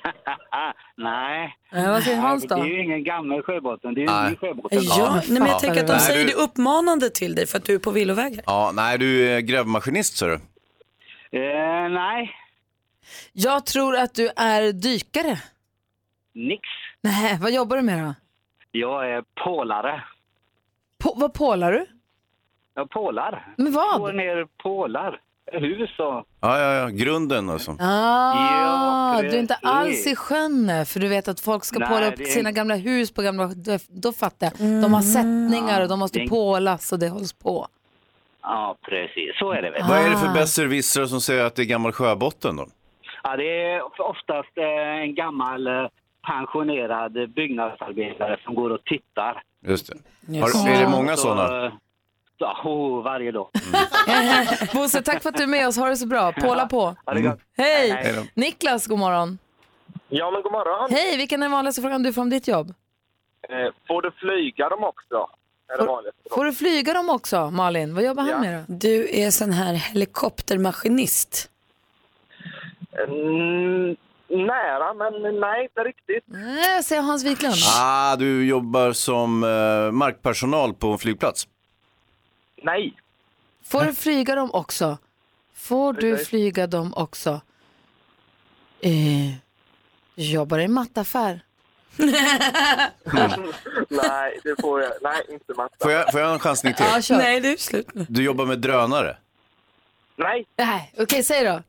S14: *laughs* Nej.
S1: Nej, vad säger Hans då?
S14: Det är ju ingen gammal sjöbotten, det är ju en ny sjöbotten.
S2: Ja, nej, men jag tänker att de
S3: Nej,
S2: säger
S3: du-
S2: det uppmanande till dig för att du är på villovägar.
S3: Ja, nej, du är grävmaskinist, så du.
S14: Eh, nej.
S1: Jag tror att du är dykare.
S14: Nix.
S1: Nej, vad jobbar du med då?
S14: Jag är pålare.
S1: På, vad pålar du?
S14: Jag pålar.
S1: Men vad?
S14: Går ner pålar. Hus och...
S3: Ja, ja, ja, grunden och så.
S1: Ah,
S14: Ja,
S1: du är inte
S14: precis.
S1: alls i sjön nu, för du vet att folk ska
S3: Nej,
S1: påla upp
S3: det är-
S1: sina gamla hus på gamla... då- Då fattar jag. De har sättningar och de måste pålas och det hålls på. *laughs*
S14: Ja, precis. Så är det väl.
S3: Vad är det för besserwissrar som säger att det är gammal sjöbotten då?
S14: Ja, det är oftast eh, en gammal eh, pensionerad byggnadsarbetare som går och tittar.
S3: Just det. Har, är det många Mm.
S14: Så,
S3: sådana?
S14: eh, Ja, oh, varje dag.
S1: Bosse, tack för att du är med oss. Ha det så bra. Påla på.
S3: Mm. Hej
S1: Hej!
S3: då.
S1: Niklas, god morgon.
S15: Ja, men god morgon.
S1: Hej, vilken är den vanligaste frågan du får om ditt jobb?
S15: Eh, får du flyga dem också? Är det vanligt?
S1: Får du flyga dem också, Malin? Vad jobbar han med då?
S5: Du är sån här helikoptermaskinist.
S15: Mm, nära, men nej, inte riktigt.
S1: Nej, Eh, säger Hans Wiklund.
S3: Ah, du jobbar som eh, markpersonal på en flygplats.
S1: *laughs*
S15: Nej.
S1: Får du flyga dem också? Får du flyga dem också? Eh, jobbar i en mattaffär?
S15: nej, det får jag. Nej, inte matta.
S3: Får jag, får jag en chansning till?
S1: Ja, kör. Nej,
S2: det är slut nu.
S3: Du jobbar med drönare?
S15: Nej.
S1: Nej, okej, säg då.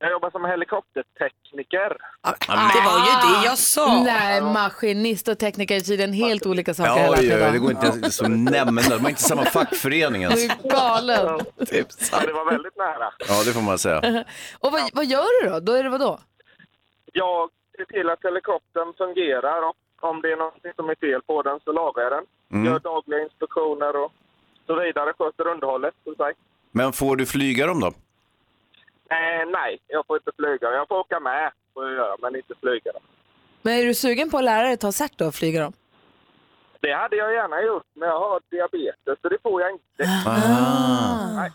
S15: Jag jobbar som helikoptertekniker.
S3: det var
S15: ju
S2: det jag sa.
S1: Nej, maskinist och tekniker är tydligen helt olika saker.
S3: Ja,
S1: hela
S3: oj, oj,
S1: tiden.
S3: det går inte ens att nämna. De har inte samma fackförening ens.
S1: *laughs* Du är galen.
S15: Ja, det var väldigt nära.
S3: Ja, det får man säga.
S1: *laughs* Och vad, vad gör du då? Då är det vad då?
S15: Jag ser till att helikoptern fungerar och om det är något som är fel på den så lagar jag den.
S3: Mm.
S15: Gör dagliga inspektioner och så vidare. Sköter underhållet, som sagt.
S3: Men får du flyga dem då?
S15: Eh, nej, jag får inte flyga. Jag får åka med, får jag göra, men inte flyga.
S1: Men är du sugen på att lära dig att ta cert då och flyga dem?
S15: Det hade jag gärna gjort, men jag har diabetes så det får jag inte. Nej.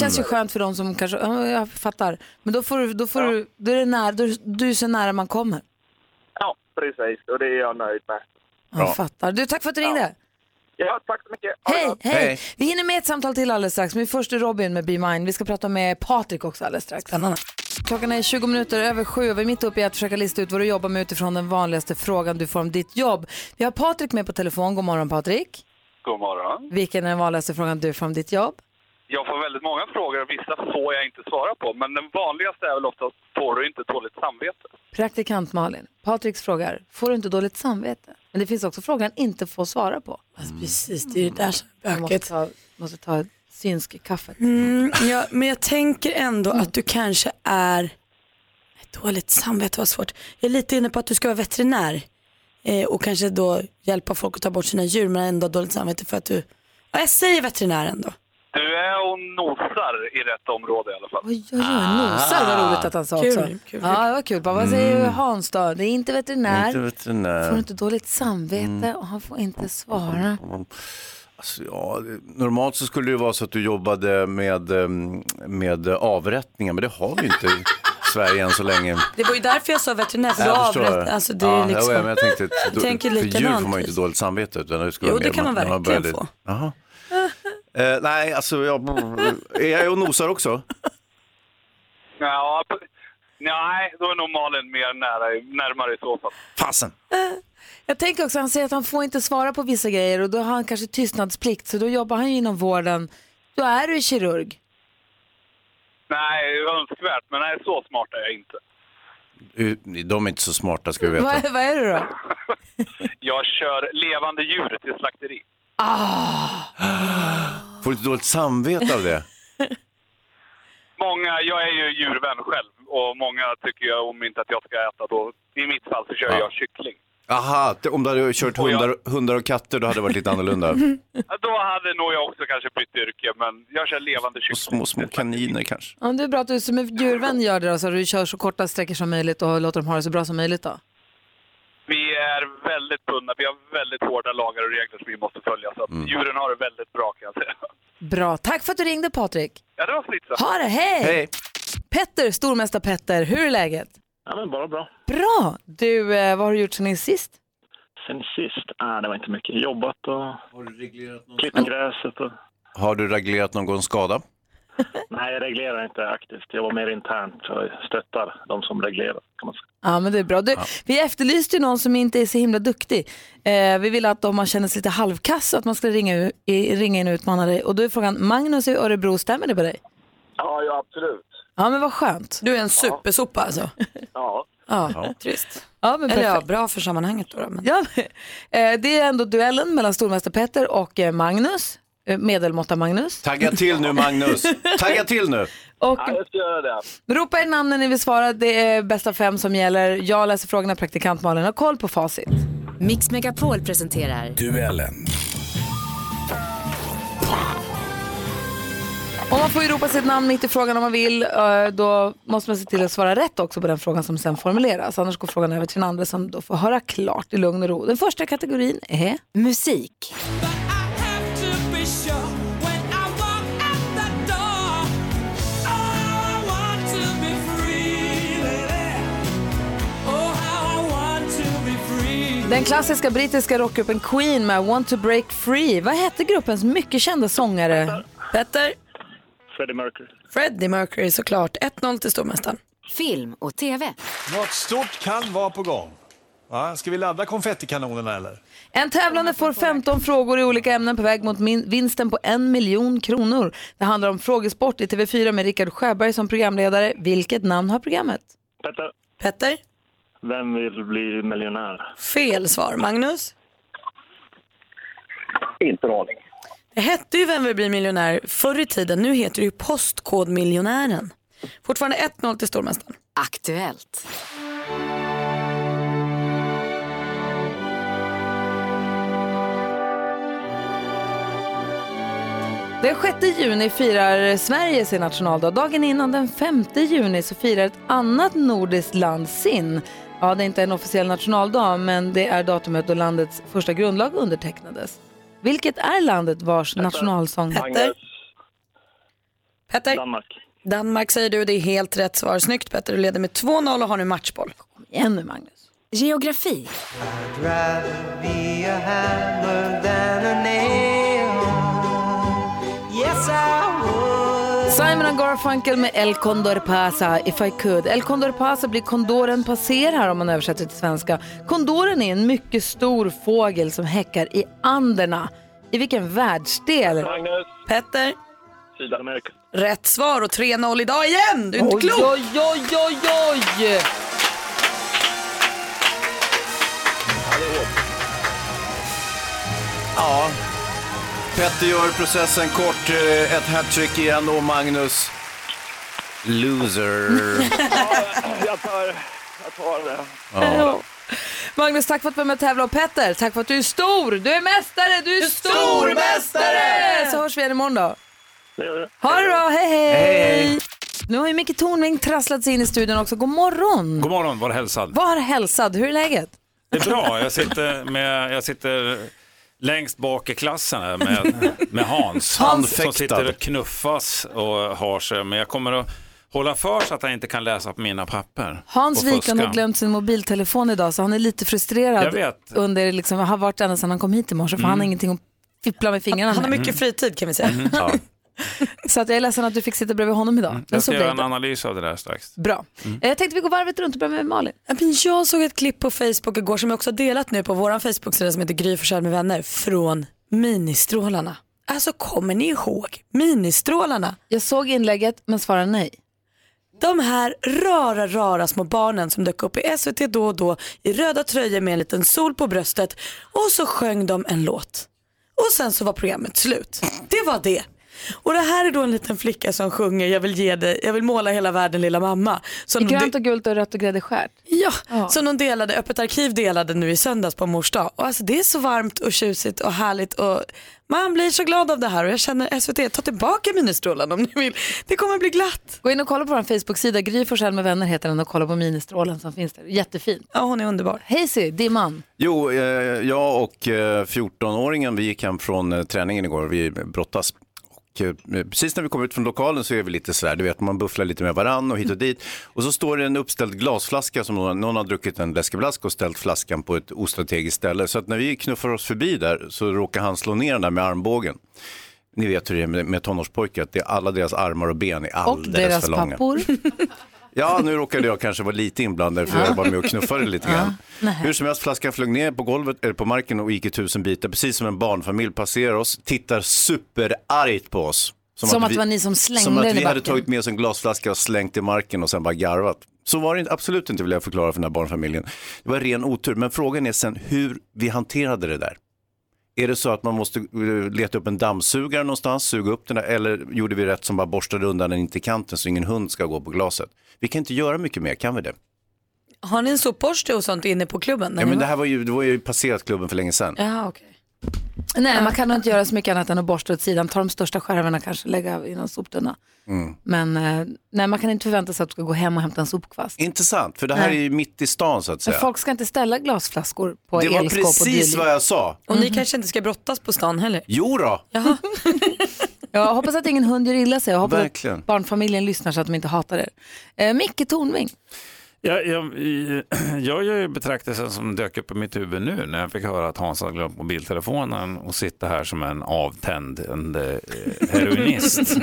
S1: Känns ju skönt för de som kanske, ja, jag fattar. Men då får du, då får du, då är det nära, då, du är så nära man kommer.
S15: Ja, precis. Och det är jag nöjd med.
S1: Jag fattar. Du, tack för att du ringde.
S15: Ja, tack så mycket.
S1: Hej, hej. Vi hinner med ett samtal till alldeles strax, men först är Robin med Be Mine. Vi ska prata med Patrik också alldeles strax. Klockan är 20 minuter över sju och vi är mitt uppe i att försöka lista ut vad du jobbar med utifrån den vanligaste frågan du får om ditt jobb. Vi har Patrik med på telefon. God morgon Patrik.
S16: God morgon.
S1: Vilken är den vanligaste frågan du får om ditt jobb?
S16: Jag får väldigt många frågor och vissa får jag inte svara på. Men den vanligaste är väl oftast, får du inte dåligt samvete?
S1: Praktikant Malin. Patriks frågar, får du inte dåligt samvete? Men det finns också frågan inte får svara på.
S5: Alltså, Precis, det är det där som
S1: Jag måste ta, måste ta synsk kaffe.
S2: Mm, ja, men jag tänker ändå att du kanske är... Dåligt samvete var svårt. Jag är lite inne på att du ska vara veterinär eh, och kanske då hjälpa folk att ta bort sina djur men ändå ha dåligt samvete för att du... Ja, jag säger veterinär ändå.
S16: Du är och nosar i rätt område i alla fall.
S1: Oj, oj, oj, nosar var roligt att han sa
S16: Kul,
S1: också.
S16: kul, kul.
S1: Ja, det var kul. Vad säger
S3: Mm.
S1: Hans då? Det är inte veterinär.
S3: Inte veterinär.
S1: Får inte dåligt samvete och han får inte svara.
S3: Alltså, ja, det- normalt så skulle det vara så att du jobbade med, em, med avrättningar, men det har vi
S2: *laughs*
S3: inte i Sverige än så länge.
S2: Det var ju därför jag sa veterinär för du
S3: Jag förstår.
S2: avrätt. Alltså det
S3: ja,
S2: är liksom...
S3: ja, men jag tänkte
S2: Jag
S3: att
S2: *laughs*
S3: då,
S2: tänker
S3: för djur
S2: likadant.
S3: får man ju inte dåligt samvete. Utan det skulle
S2: Jo,
S3: vara
S2: det
S3: mer
S2: kan man
S3: när
S2: verkligen
S3: började-
S2: få.
S3: Jaha. Eh, nej, alltså jag, är jag och nosar också?
S16: Ja, p- nej, då är nog Malin mer nära, närmare i så fall.
S3: Fasen!
S1: Eh, Jag tänker också, han säger att han får inte svara på vissa grejer och då har han kanske tystnadsplikt så då jobbar han ju inom vården. Då är du kirurg.
S16: Nej, önskvärt, men nej, så smart är jag inte.
S3: Eh, De är inte så smarta ska du
S1: Vad,
S3: veta.
S1: är- vad är du då?
S16: Jag kör levande djur till slakteri.
S3: Ah. Får du inte dåligt samvete
S2: *laughs*
S3: av det?
S16: Många, jag är ju djurvän själv och många tycker ju om inte att jag ska äta då. I mitt fall så kör
S3: Ja.
S16: jag kyckling.
S3: Aha, t- om du hade kört hundar, hundar och katter då hade det varit lite annorlunda.
S2: *laughs*
S16: Ja, Då hade nog jag också kanske bytt yrke, men jag kör levande kyckling.
S3: Små, små kaniner kanske.
S1: Ja, det är bra att du som är djurvän gör det då, så att du kör så korta sträckor som möjligt och låter dem ha det så bra som möjligt då.
S16: Vi är väldigt bundna, vi har väldigt hårda lagar och regler som vi måste följa. Så att djuren har det väldigt bra kan jag säga.
S1: Bra, tack för att du ringde Patrik.
S16: Ja, det var så lite så.
S1: Ha det, hej! Petter, stormästare Petter, hur är läget?
S17: Ja, men bara bra.
S1: Bra! Du, eh, vad har du gjort sen sist?
S17: Sen sist, nej det var inte mycket. Jobbat och klippt gräset. Och...
S3: Har du reglerat någon skada?
S17: Nej, jag reglerar inte aktivt. Jag var mer internt och stöttar de som reglerar. Kan man säga.
S1: Ja, men det är bra. Du, Vi efterlyste ju någon som inte är så himla duktig. Eh, vi ville att om man känner sig lite halvkass att man skulle ringa, u- i- ringa in och utmana dig. Och då är frågan, Magnus i Örebro, stämmer det på dig?
S15: Ja, ja absolut.
S1: Ja, men vad skönt.
S2: Du är en supersopa alltså.
S15: Ja.
S1: Ja,
S2: trist.
S1: Ja, men
S2: Eller ja,
S1: perfekt.
S2: bra för sammanhanget då. då, Men...
S1: Ja, eh, det är ändå duellen mellan stormästare Petter och eh, Magnus, eh, medelmåtta-Magnus.
S3: Tagga till nu Magnus! Tagga till nu!
S1: Och-
S15: Ja, jag ska göra det.
S1: Ropa er namn när ni vill svara. Det är bästa fem som gäller. Jag läser frågorna, praktikant Malin har koll på facit.
S11: Mix Megapol presenterar
S10: Duellen.
S1: Om man får ju ropa sitt namn mitt i frågan om man vill, eh, då måste man se till att svara rätt också på den frågan som sen formuleras. Annars går frågan över till den andra som då får höra klart i lugn och ro. Den första kategorin är musik. Den klassiska brittiska rockgruppen Queen med Want to break free. Vad hette gruppens mycket kända sångare?
S2: Petter?
S17: Freddie Mercury.
S2: Freddie Mercury såklart. 1-0 till stormästaren.
S11: film och tv.
S10: Något stort kan vara på gång. Va? Ska vi ladda konfettikanonerna eller?
S1: En tävlande får 15 frågor i olika ämnen på väg mot min- vinsten på en miljon kronor. Det handlar om frågesport i TV4 med Rickard Sjöberg som programledare. Vilket namn har programmet?
S17: Petter,
S2: Petter?
S17: vem vill bli miljonär?
S2: Fel svar. Magnus?
S17: Inte en aning.
S2: Det hette ju Vem vill bli miljonär förr i tiden. Nu heter det ju Postkodmiljonären. Fortfarande 1-0 till stormästaren.
S11: Aktuellt.
S1: Den 6 juni firar Sverige sin nationaldag. Dagen innan den 5 juni så firar ett annat nordiskt land sin. Ja, det är inte en officiell nationaldag, men det är datumet då landets första grundlag undertecknades. Vilket är landet vars nationalsång...
S2: Petter? Petter?
S17: Danmark.
S2: Danmark säger du. Det är helt rätt svar. Snyggt Petter. Du leder med 2-0 och har nu matchboll. Kom
S1: igen nu Magnus.
S11: Geografi.
S4: Rather be a hammer than a nail. Yes, I would.
S1: Simon and Garfunkel med El Condor Pasa, If I Could. El Condor Pasa blir kondoren passerar om man översätter till svenska. Kondoren är en mycket stor fågel som häckar i Anderna. I vilken världsdel?
S17: Magnus.
S2: Petter?
S17: Sydamerika.
S2: Rätt svar och 3-0 idag igen. Du är inte
S1: Oj,
S2: klok.
S1: oj, oj, oj, oj.
S3: Ja. Petter gör processen kort, eh, ett hattrick igen och Magnus... Loser.
S17: jag tar, jag tar det.
S3: Ja.
S1: Magnus, tack för att du var med och tävlade. Och Petter, tack för att du är stor. Du är mästare, du är stormästare! Så hörs vi igen imorgon då. Ha det bra, hej hej!
S7: Hej, hej.
S1: Nu har ju Micke Tornving trasslat sig in i studion också. God morgon!
S7: God morgon, var hälsad.
S1: Var hälsad, hur är läget?
S7: Det är bra, jag sitter, med, jag sitter längst bak i klassen här med, med Hans.
S3: Hans.
S7: Som sitter och knuffas och har sig. Men jag kommer att hålla för så att han inte kan läsa på mina papper.
S1: Hans
S7: Och
S1: Wiklund har
S7: fuska.
S1: glömt sin mobiltelefon idag så han är lite frustrerad.
S7: Jag vet.
S1: Under, liksom, har varit ända sedan han kom hit i morse för
S7: Mm.
S1: han har ingenting att fippla med fingrarna
S7: Han har
S1: med.
S7: mycket Mm.
S2: fritid kan vi säga.
S1: *laughs*
S7: Mm, ja.
S1: Så att jag är ledsen att du fick sitta bredvid honom
S18: Mm,
S1: idag. Men
S7: Jag
S1: så
S7: ska
S1: blev
S7: göra
S1: det.
S7: en analys av det där strax.
S1: Bra. Eh,
S7: Mm.
S1: Jag tänkte vi går varvet runt och börjar med Malin.
S2: Ja, men Jag såg ett klipp på Facebook igår som jag också har delat nu på vår Facebook-sida som heter Gry Forssell med vänner från Ministrålarna. Alltså kommer ni ihåg Ministrålarna?
S1: Jag såg inlägget men svarade nej.
S2: De här rara, rara små barnen som dök upp i SVT då och då i röda tröjor med en liten sol på bröstet och så sjöng de en låt. Och sen så var programmet slut. Det var det. Och det här är då en liten flicka som sjunger Jag vill ge dig, jag vill måla hela världen lilla mamma. Som
S1: I
S2: de-
S1: grönt och gult och rött och grädde skärt.
S2: Ja, som de delade, Öppet arkiv delade nu i söndags på mors dag. Och alltså det är så varmt och tjusigt och härligt och man blir så glad av det här och jag känner SVT, ta tillbaka ministrålen om ni vill. Det kommer bli glatt.
S1: Gå in och kolla på vår Facebook-sida, Gry Forssell med vänner heter den och kolla på ministrålen som finns där. Jättefint.
S2: Ja, hon är underbar.
S1: Hazy, Dimman.
S3: Jo, eh, jag och eh, 14-åringen, vi gick hem från eh, träningen igår, vi brottas. Och och eh, precis när vi kommer ut från lokalen så är vi lite sådär, du vet man bufflar lite med varann och hit
S1: Mm.
S3: och dit. Och så står det en uppställd glasflaska som någon, någon har druckit en läskeblask och ställt flaskan på ett ostrategiskt ställe. Så att när vi knuffar oss förbi där så råkar han slå ner den där med armbågen. Ni vet hur det är med, med tonårspojkar, att det är alla deras armar och ben är
S1: Och
S3: alldeles
S1: deras
S3: för långa.
S1: pappor.
S3: Ja, nu råkade jag kanske vara lite inblandad för jag var med och knuffade lite grann. Hur som helst, flaskan flög ner på golvet, eller på marken och gick i tusen bitar, precis som en barnfamilj passerar oss, tittar superargt på oss.
S1: Som att det var ni som slängde
S3: Som att
S1: den i
S3: vi hade
S1: backen.
S3: tagit med oss en glasflaska och slängt i marken och sen bara garvat. Så var det inte- absolut inte vill jag förklara för den här barnfamiljen. Det var ren otur, men frågan är sen hur vi hanterade det där. Är det så att man måste eh, leta upp en dammsugare någonstans, suga upp den där, eller gjorde vi rätt som bara borstade undan den in till kanten så ingen hund ska gå på glaset? Vi kan inte göra mycket mer, kan vi det?
S2: Har ni en sopborste och sånt inne på klubben? när
S3: Ja,
S2: ni
S3: men
S2: var-
S3: det här var ju, det var ju passerat klubben för länge sedan.
S2: Jaha, okej.
S1: Nej, man kan nog inte göra så mycket annat än att borsta åt sidan, ta de största skärvorna kanske, lägga i någon soptunna.
S3: Mm.
S1: Men eh, nej, man kan inte förvänta sig att du ska gå hem och hämta en sopkvast.
S3: Intressant, för det här
S1: Nej.
S3: är ju mitt i stan så att
S1: Men
S3: säga.
S1: folk ska inte ställa glasflaskor på
S3: det var
S1: elskåp och
S3: precis vad jag sa.
S2: Och ni kanske inte ska brottas på stan heller?
S3: Mhm. Jo då,
S1: Jag hoppas att ingen hund gör illa sig. Jag hoppas
S3: Verkligen.
S1: att barnfamiljen lyssnar så att de inte hatar er. Eh, Micke Tornving,
S18: Jag, jag, i- *clears throat* jag gör ju betraktelsen som dök upp i mitt huvud nu när jag fick höra att Hans hade glömt mobiltelefonen och sitter här som en avtänd en, eh, *laughs* heroinist.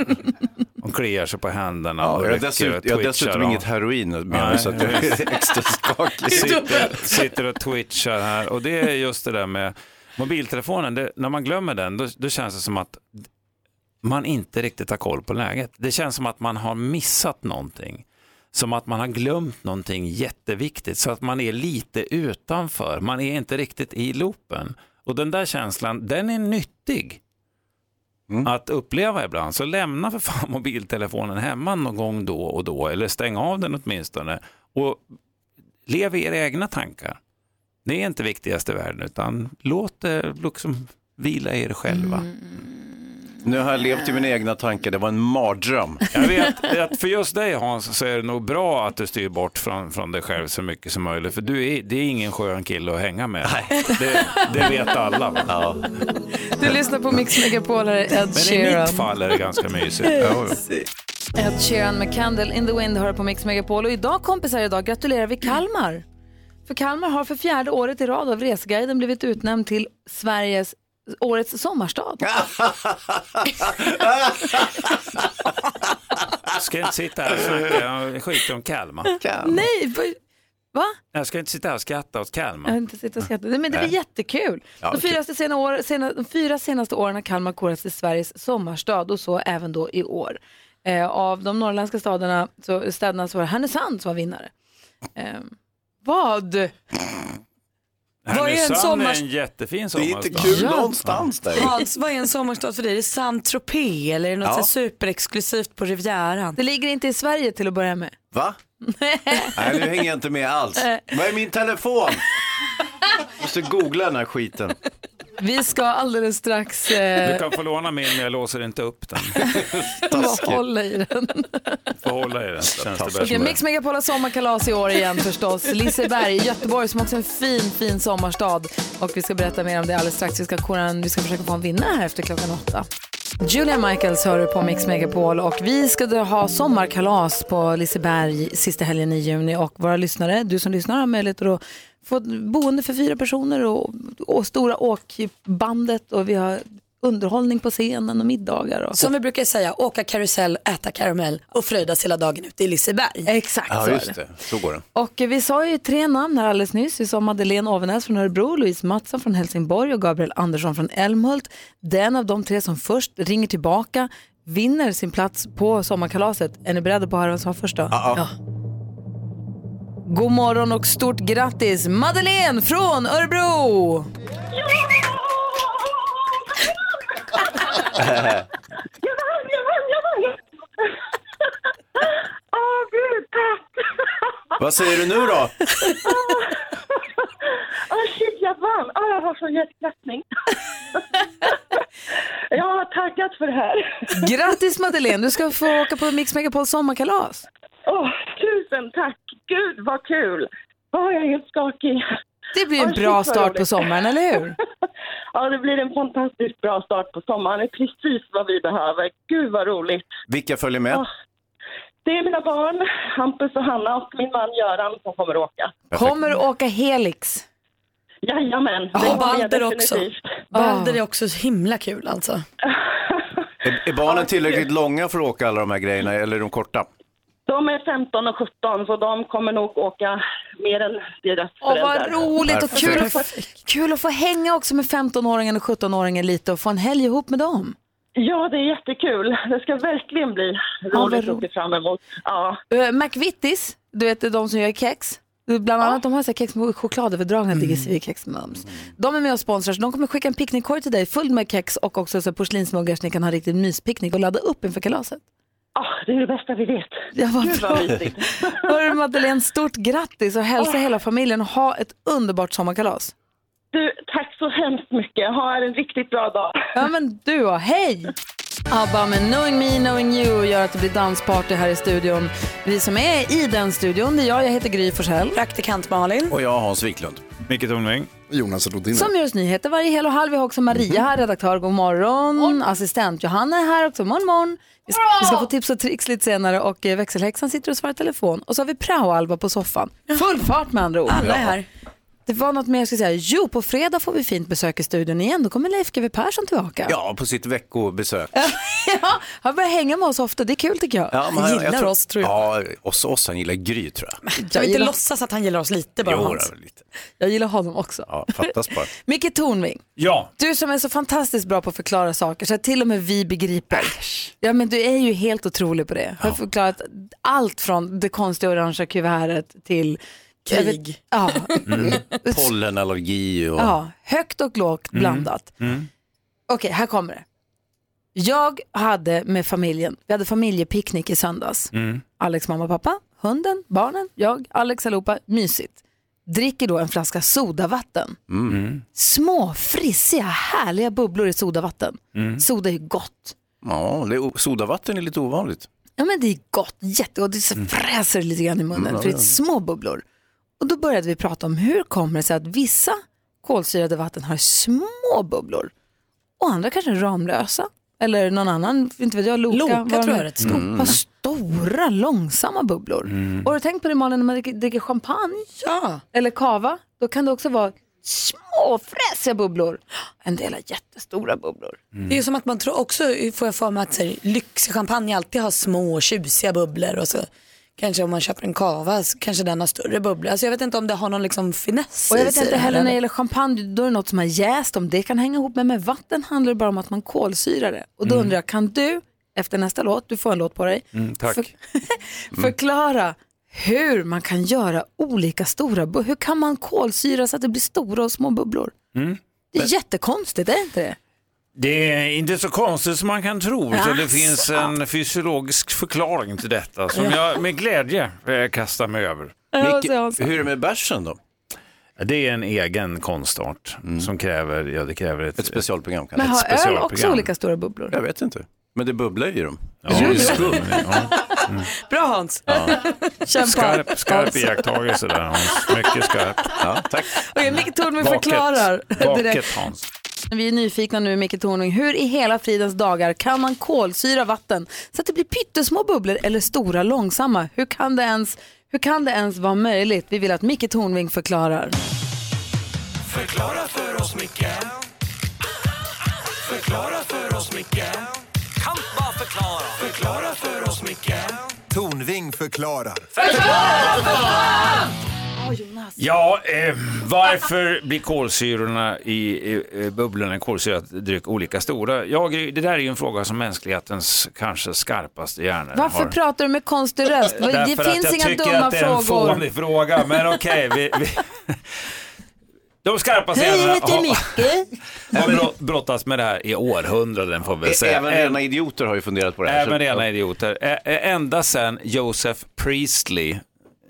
S18: Och kliar sig på händerna
S3: Ja,
S18: och
S3: jag har
S18: rycker
S3: dessutom-
S18: och
S3: jag har
S18: twitchar
S3: dessutom
S18: och-
S3: inget heroin med mig,
S18: Nej,
S3: så att jag är
S18: *laughs* just.
S3: extra skakig.
S18: Sitter, sitter och twitchar här och det är just det där med mobiltelefonen. Det, när man glömmer den då, då känns det som att man inte riktigt har koll på läget. Det känns som att man har missat någonting. Som att man har glömt någonting jätteviktigt. Så att man är lite utanför. Man är inte riktigt i loopen. Och den där känslan, den är nyttig
S3: Mm.
S18: att uppleva ibland. Så lämna för fan *laughs* mobiltelefonen hemma någon gång då och då. Eller stäng av den åtminstone. Och lev i era egna tankar. Det är inte viktigast i världen utan låt det liksom vila i er själva.
S3: Mm. Nu har jag levt i mina egna tankar, det var en mardröm.
S18: Jag vet att för just dig Hans så är det nog bra att du styr bort från, från dig själv så mycket som möjligt. För du är, det är ingen skön kille att hänga med. Det, det vet alla. va?
S1: du lyssnar på Mix Megapol, här är Ed
S18: Men i
S1: Sheeran.
S18: mitt fall är det ganska
S1: *laughs*
S18: mysigt.
S1: Ed Sheeran med Candle in the Wind hör på Mix Megapol. Och idag kompisar, idag gratulerar vi Kalmar. För Kalmar har för fjärde året i rad av Resguiden blivit utnämnd till Sveriges årets sommarstad.
S18: Jag ska inte sitta här och snacka skit om Kalmar.
S1: Nej, vad- va?
S18: Jag ska inte sitta här och skratta åt
S1: Jag har
S18: Kalmar.
S1: inte suttit och skrattat. Nej, Men det är
S18: Nej.
S1: jättekul.
S18: Ja,
S1: de, fyra sena år, sena, de fyra senaste åren har Kalmar korats till Sveriges sommarstad och så även då i år. Eh, av de norrländska staderna, så, städerna så var det Härnösand som var vinnare. Eh,
S2: Vad
S1: vad?
S2: är en
S18: Härnösand
S2: sommar-
S18: är en jättefin sommarstad.
S2: Ja. Hans,
S18: Hans,
S2: vad är en sommarstad för dig? Är det Saint-Tropez eller är det något
S18: Ja.
S2: så här superexklusivt på Rivieran?
S1: Det ligger inte i Sverige till att börja med.
S3: Va? Nej, nu hänger jag inte med
S1: *laughs*
S3: alls. Var är min telefon? Måste googla den här skiten.
S1: Vi ska alldeles strax
S18: Du
S1: eh,
S18: kan få låna min, men jag låser inte upp den.
S1: hålla i den.
S18: Får hålla i den. Känns det bäst
S1: Okej,
S18: med.
S1: Mix Megapol har sommarkalas i år
S18: *laughs*
S1: igen förstås. Liseberg i Göteborg som också är en fin, fin sommarstad. Och vi ska berätta mer om det alldeles strax. Vi ska, kora en, vi ska försöka få en vinnare här efter klockan åtta. Julia Michaels hör du på Mix Megapol och vi ska då ha sommarkalas på Liseberg sista helgen i juni och våra lyssnare, du som lyssnar har möjlighet att då få ett boende för fyra personer och, och stora åkbandet och vi har underhållning på scenen och middagar. Och
S5: Som vi brukar säga, åka karusell, äta karamell och fröjdas hela dagen ute i Liseberg.
S1: Exakt
S3: Ja, just det. Så går det.
S1: Och eh, vi sa ju tre namn här alldeles nyss. Vi sa Madeleine Ovenäs från Örebro, Louise Mattsson från Helsingborg och Gabriel Andersson från Älmhult. Den av de tre som först ringer tillbaka vinner sin plats på sommarkalaset. Är ni beredda på att höra vem som var först då? Ja. God morgon och stort grattis Madeleine från Örebro!
S4: Jag vann, jag vann, jag vann! *laughs* Åh, gud, tack! *laughs*
S3: Vad säger du nu då?
S4: Åh, shit, jag vann! Åh, jag har sån hjärtklappning. *laughs* Jag har tackat för det här.
S1: Grattis Madeleine, du ska få åka på Mix Megapol sommarkalas.
S4: Åh, tusen tack! Gud, vad kul! Åh, jag är helt skakig.
S1: Det blir en
S19: Oj, shit,
S1: bra
S19: vad
S1: start på
S19: roligt.
S1: sommaren, eller hur?
S19: *laughs* Ja, det blir en fantastiskt bra start på sommaren. Det är precis vad vi behöver. Gud vad roligt.
S3: Vilka följer med?
S19: Det är mina barn, Hampus och Hanna och min man Göran som kommer åka.
S1: Kommer du åka Helix?
S19: Jajamän. det
S5: Ja,
S19: kommer jag
S5: Balder också.
S19: definitivt.
S1: Ah.
S5: Balder är också så himla kul alltså.
S3: Är, är barnen tillräckligt långa för att åka alla de här grejerna eller är de korta?
S19: De är 15 och 17 så de kommer nog åka mer än deras
S1: Åh, vad
S19: föräldrar.
S1: roligt och kul att, få,
S19: Perfekt.
S1: kul att få hänga också med 15-åringen och 17-åringen lite och få en helg ihop med dem.
S19: Ja, det är jättekul. Det ska verkligen bli roligt att se fram emot. Ja.
S1: Uh, McVittys, du vet de som gör kex. Bland annat de har så här kex med chokladöverdragna mm. DGC-kex med mums. De är med och sponsrar så de kommer skicka en picknickkorg till dig full med kex och också så här porslinsmuggar så ni kan ha riktigt myspicknick och ladda upp inför kalaset.
S19: Ah, det är det bästa vi vet.
S1: Ja, vad
S19: Gud,
S1: bra.
S19: vad mysigt.
S1: *laughs* Hörru Madeleine, stort grattis och hälsa hela familjen och ha ett underbart sommarkalas.
S19: Du, tack så hemskt mycket. Ha en riktigt bra dag.
S1: Ja men du och hej! ABBA med Knowing Me, Knowing You gör att det blir dansparty här i studion. Vi som är i den studion, det är jag, jag heter Gry Forssell. Praktikant Malin.
S3: Och jag Hans Wiklund.
S18: Micke Tornving.
S7: Jonas Rodin.
S1: Som gör oss nyheter varje hel och halv. Vi har också Maria här, redaktör. God morgon. Assistent Johanna är här också. Morgon, morgon. Vi ska, vi ska få tips och tricks lite senare och eh, växelhäxan sitter och svarar i telefon. Och så har vi prao-Alva på soffan. Full fart med andra ord.
S5: Alla är här.
S1: Det var något mer jag skulle säga. Jo, på fredag får vi fint besök i studion igen. Då kommer Leif GW Persson tillbaka.
S3: Ja, på sitt veckobesök.
S1: Eh, *laughs* Ja, han börjar hänga med oss ofta. Det är kul tycker jag.
S3: Ja, men Ja, oss, oss. Han gillar Gry tror jag.
S1: Jag
S5: inte
S1: gillar-
S5: låtsas att han gillar oss lite bara
S3: Jo,
S5: Hans.
S3: då, lite.
S1: Jag gillar honom också.
S3: Ja, fattas bara.
S1: *laughs* Micke Tornving,
S18: Ja.
S1: du som är så fantastiskt bra på att förklara saker så att till och med vi begriper. Ja, men du är ju helt otrolig på det. Jag har förklarat allt från det konstiga orangea kuvertet till
S5: Krig.
S1: Jag vet- Ja,
S3: Mm. Pollenallergi och...
S1: ja, högt och lågt
S3: Mm.
S1: blandat.
S3: Mm.
S1: Okej, här kommer det. Jag hade med familjen, vi hade familjepicknick i söndags.
S18: Mm.
S1: Alex mamma och pappa, hunden, barnen, jag, Alex allihopa, mysigt. Dricker då en flaska sodavatten.
S18: Mm.
S1: Små, frissiga, härliga bubblor i sodavatten.
S3: Mm.
S1: Soda är ju gott.
S3: Ja, det är, o- sodavatten är lite ovanligt.
S1: Ja men det är gott, jättegott. Det så fräser lite grann i munnen
S3: Mm, ja,
S1: för det är
S3: ja.
S1: små bubblor. Och då började vi prata om hur kommer det sig att vissa kolsyrade vatten har små bubblor och andra kanske är Ramlösa eller någon annan, inte vet jag, Loka.
S5: Loka
S1: vad de
S5: tror jag
S1: är.
S5: är rätt stor. Mm.
S1: Har stora, långsamma bubblor.
S3: Mm.
S18: Mm.
S1: Och har du tänkt på det Malin, när man dricker- dricker champagne eller kava, då kan det också vara små fräsiga bubblor. En del har jättestora bubblor.
S18: Mm.
S5: Det är ju som att man tror också, får jag för mig att så här, lyxchampagne alltid har små tjusiga bubblor och så kanske om man köper en kava så kanske den har större bubblor. Alltså jag vet inte om det har någon liksom finess
S1: Och jag
S5: i
S1: vet
S5: sig
S1: inte
S5: det här,
S1: heller när det
S5: eller?
S1: gäller champagne, då är det något som har jäst, om det kan hänga ihop med, men vatten handlar det bara om att man kolsyrar det. Och då
S18: Mm.
S1: undrar jag, kan du, efter nästa låt, du får en låt på dig,
S18: Mm, tack. Mm.
S1: För- förklara hur man kan göra olika stora, bu- hur kan man kolsyra så att det blir stora och små bubblor?
S18: Mm.
S1: Det är jättekonstigt, är det inte det?
S18: Det är inte så konstigt som man kan tro. Så det finns en fysiologisk förklaring till detta som jag med glädje eh, kastar mig över.
S3: Micke, hur är det med bärsen då? Mm.
S18: Det är en egen konstart som kräver, ja, det kräver ett, ett
S3: specialprogram.
S1: Men har öl också olika stora bubblor?
S3: Jag vet inte. Men det bubblar ju i dem. Mm.
S18: Ja, det är skum. Mm.
S5: Bra Hans!
S18: Ja.
S1: Kämpa.
S18: Skarp, skarp iakttagelse där Hans. Mycket skarp.
S3: Ja, tack.
S1: Okej, Micke Tornving förklarar direkt.
S18: Vaket Hans.
S1: Vi är nyfikna nu, Micke Tornving. Hur i hela fridens dagar kan man kolsyra vatten så att det blir pyttesmå bubblor eller stora långsamma? Hur kan det ens, hur kan det ens vara möjligt? Vi vill att Micke Tornving förklarar.
S4: Förklara för oss, Micke Förklara för oss, Micke Kan bara förklara Förklara för oss, Micke
S12: Tornving förklarar.
S18: Ja, eh, varför blir kolsyrorna i, i, i bubblorna i kolsyrat dryck olika stora? Ja, Gry, det där är ju en fråga som mänsklighetens kanske skarpaste hjärnor
S1: Varför
S18: har.
S1: pratar du med konstig röst? Det
S18: Därför att
S1: finns
S18: jag
S1: inga
S18: tycker
S1: dumma
S18: att det är en
S1: frågor.
S18: fånig fråga, men okej. vi, vi... De skarpaste
S1: Hej, jag
S18: hjärnorna
S1: heter
S18: har,
S1: Micke.
S18: har brott- brottats med det här i århundraden får vi väl säga.
S3: Även rena idioter har ju funderat på det här.
S18: Även rena idioter. Ä- ä- Ända sedan Joseph Priestley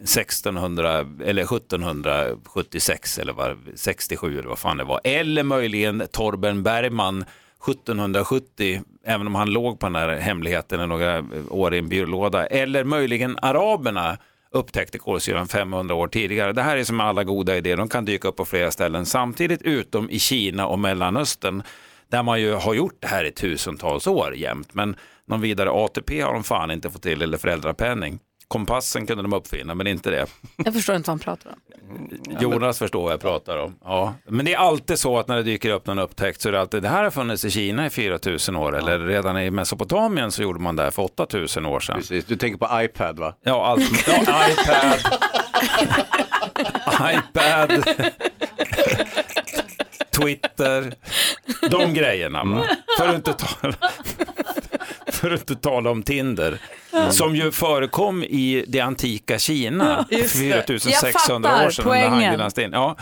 S18: 1600 eller 1776 eller vad, 67 eller vad fan det var. Eller möjligen Torben Bergman 1770, även om han låg på den här hemligheten i några år i en byrålåda. Eller möjligen araberna upptäckte kolsyran 500 år tidigare. Det här är som med alla goda idéer, de kan dyka upp på flera ställen samtidigt, utom i Kina och Mellanöstern, där man ju har gjort det här i tusentals år jämt. Men någon vidare ATP har de fan inte fått till, eller föräldrapenning. Kompassen kunde de uppfinna, men inte det.
S1: Jag förstår inte vad han pratar om.
S18: Jonas förstår vad jag pratar om. Ja. Men det är alltid så att när det dyker upp någon upptäckt så är det alltid det här har funnits i Kina i 4000 år eller redan i Mesopotamien så gjorde man det här för 8000 år sedan.
S3: Precis. Du tänker på iPad va?
S18: Ja, allt, ja iPad.
S3: *laughs*
S18: *laughs* iPad. Twitter. De grejerna.
S3: Mm.
S18: va? För att inte tala, *laughs* för att inte tala om Tinder.
S1: Mm.
S18: Som ju förekom i det antika Kina.
S1: Ja, just det.
S18: 4600 år
S1: Jag
S18: sedan.
S1: fattar
S18: under
S1: poängen.
S18: Hangelands din. Ja.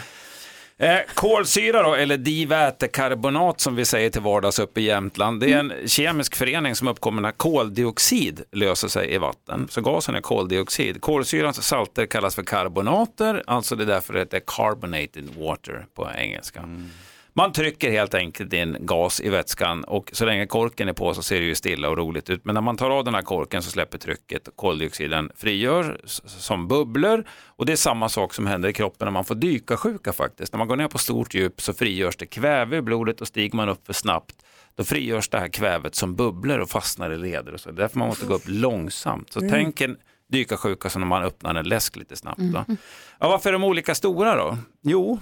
S18: Eh, kolsyra då, eller divätekarbonat som vi säger till vardags uppe i Jämtland, det är en
S1: Mm.
S18: kemisk förening som uppkommer när koldioxid löser sig i vatten. Så gasen är koldioxid. Kolsyrans salter kallas för karbonater, alltså det är därför det heter carbonated water på engelska.
S1: Mm.
S18: Man trycker helt enkelt in gas i vätskan och så länge korken är på så ser det ju stilla och roligt ut. Men när man tar av den här korken så släpper trycket och koldioxiden frigör s- som bubblor och det är samma sak som händer i kroppen när man får dykarsjuka faktiskt. När man går ner på stort djup så frigörs det kväve i blodet och stiger man upp för snabbt då frigörs det här kvävet som bubblor och fastnar i leder och så. Därför man måste gå upp långsamt. Så Mm. tänk en dykarsjuka som när man öppnar en läsk lite snabbt. Då. Mm. Ja, varför är de olika stora då? Jo,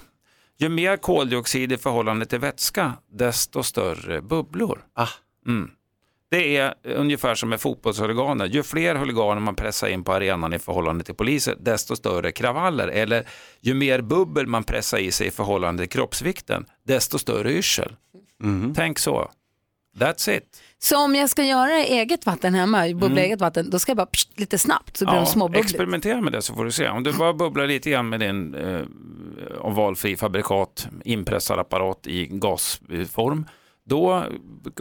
S18: ju mer koldioxid i förhållande till vätska, desto större bubblor. Mm. Det är ungefär som med fotbollshuliganer. Ju fler huliganer man pressar in på arenan i förhållande till poliser, desto större kravaller. Eller ju mer bubbel man pressar i sig i förhållande till kroppsvikten, desto större yrsel. Tänk så. That's it.
S1: Så om jag ska göra eget vatten hemma,
S18: Mm.
S1: bubbla eget vatten, då ska jag bara pst, lite snabbt så blir de småbubbligt.
S18: experimentera med det så får du se. Om du bara bubblar lite grann med din eh, om valfri fabrikat, inpressad apparat i gasform, då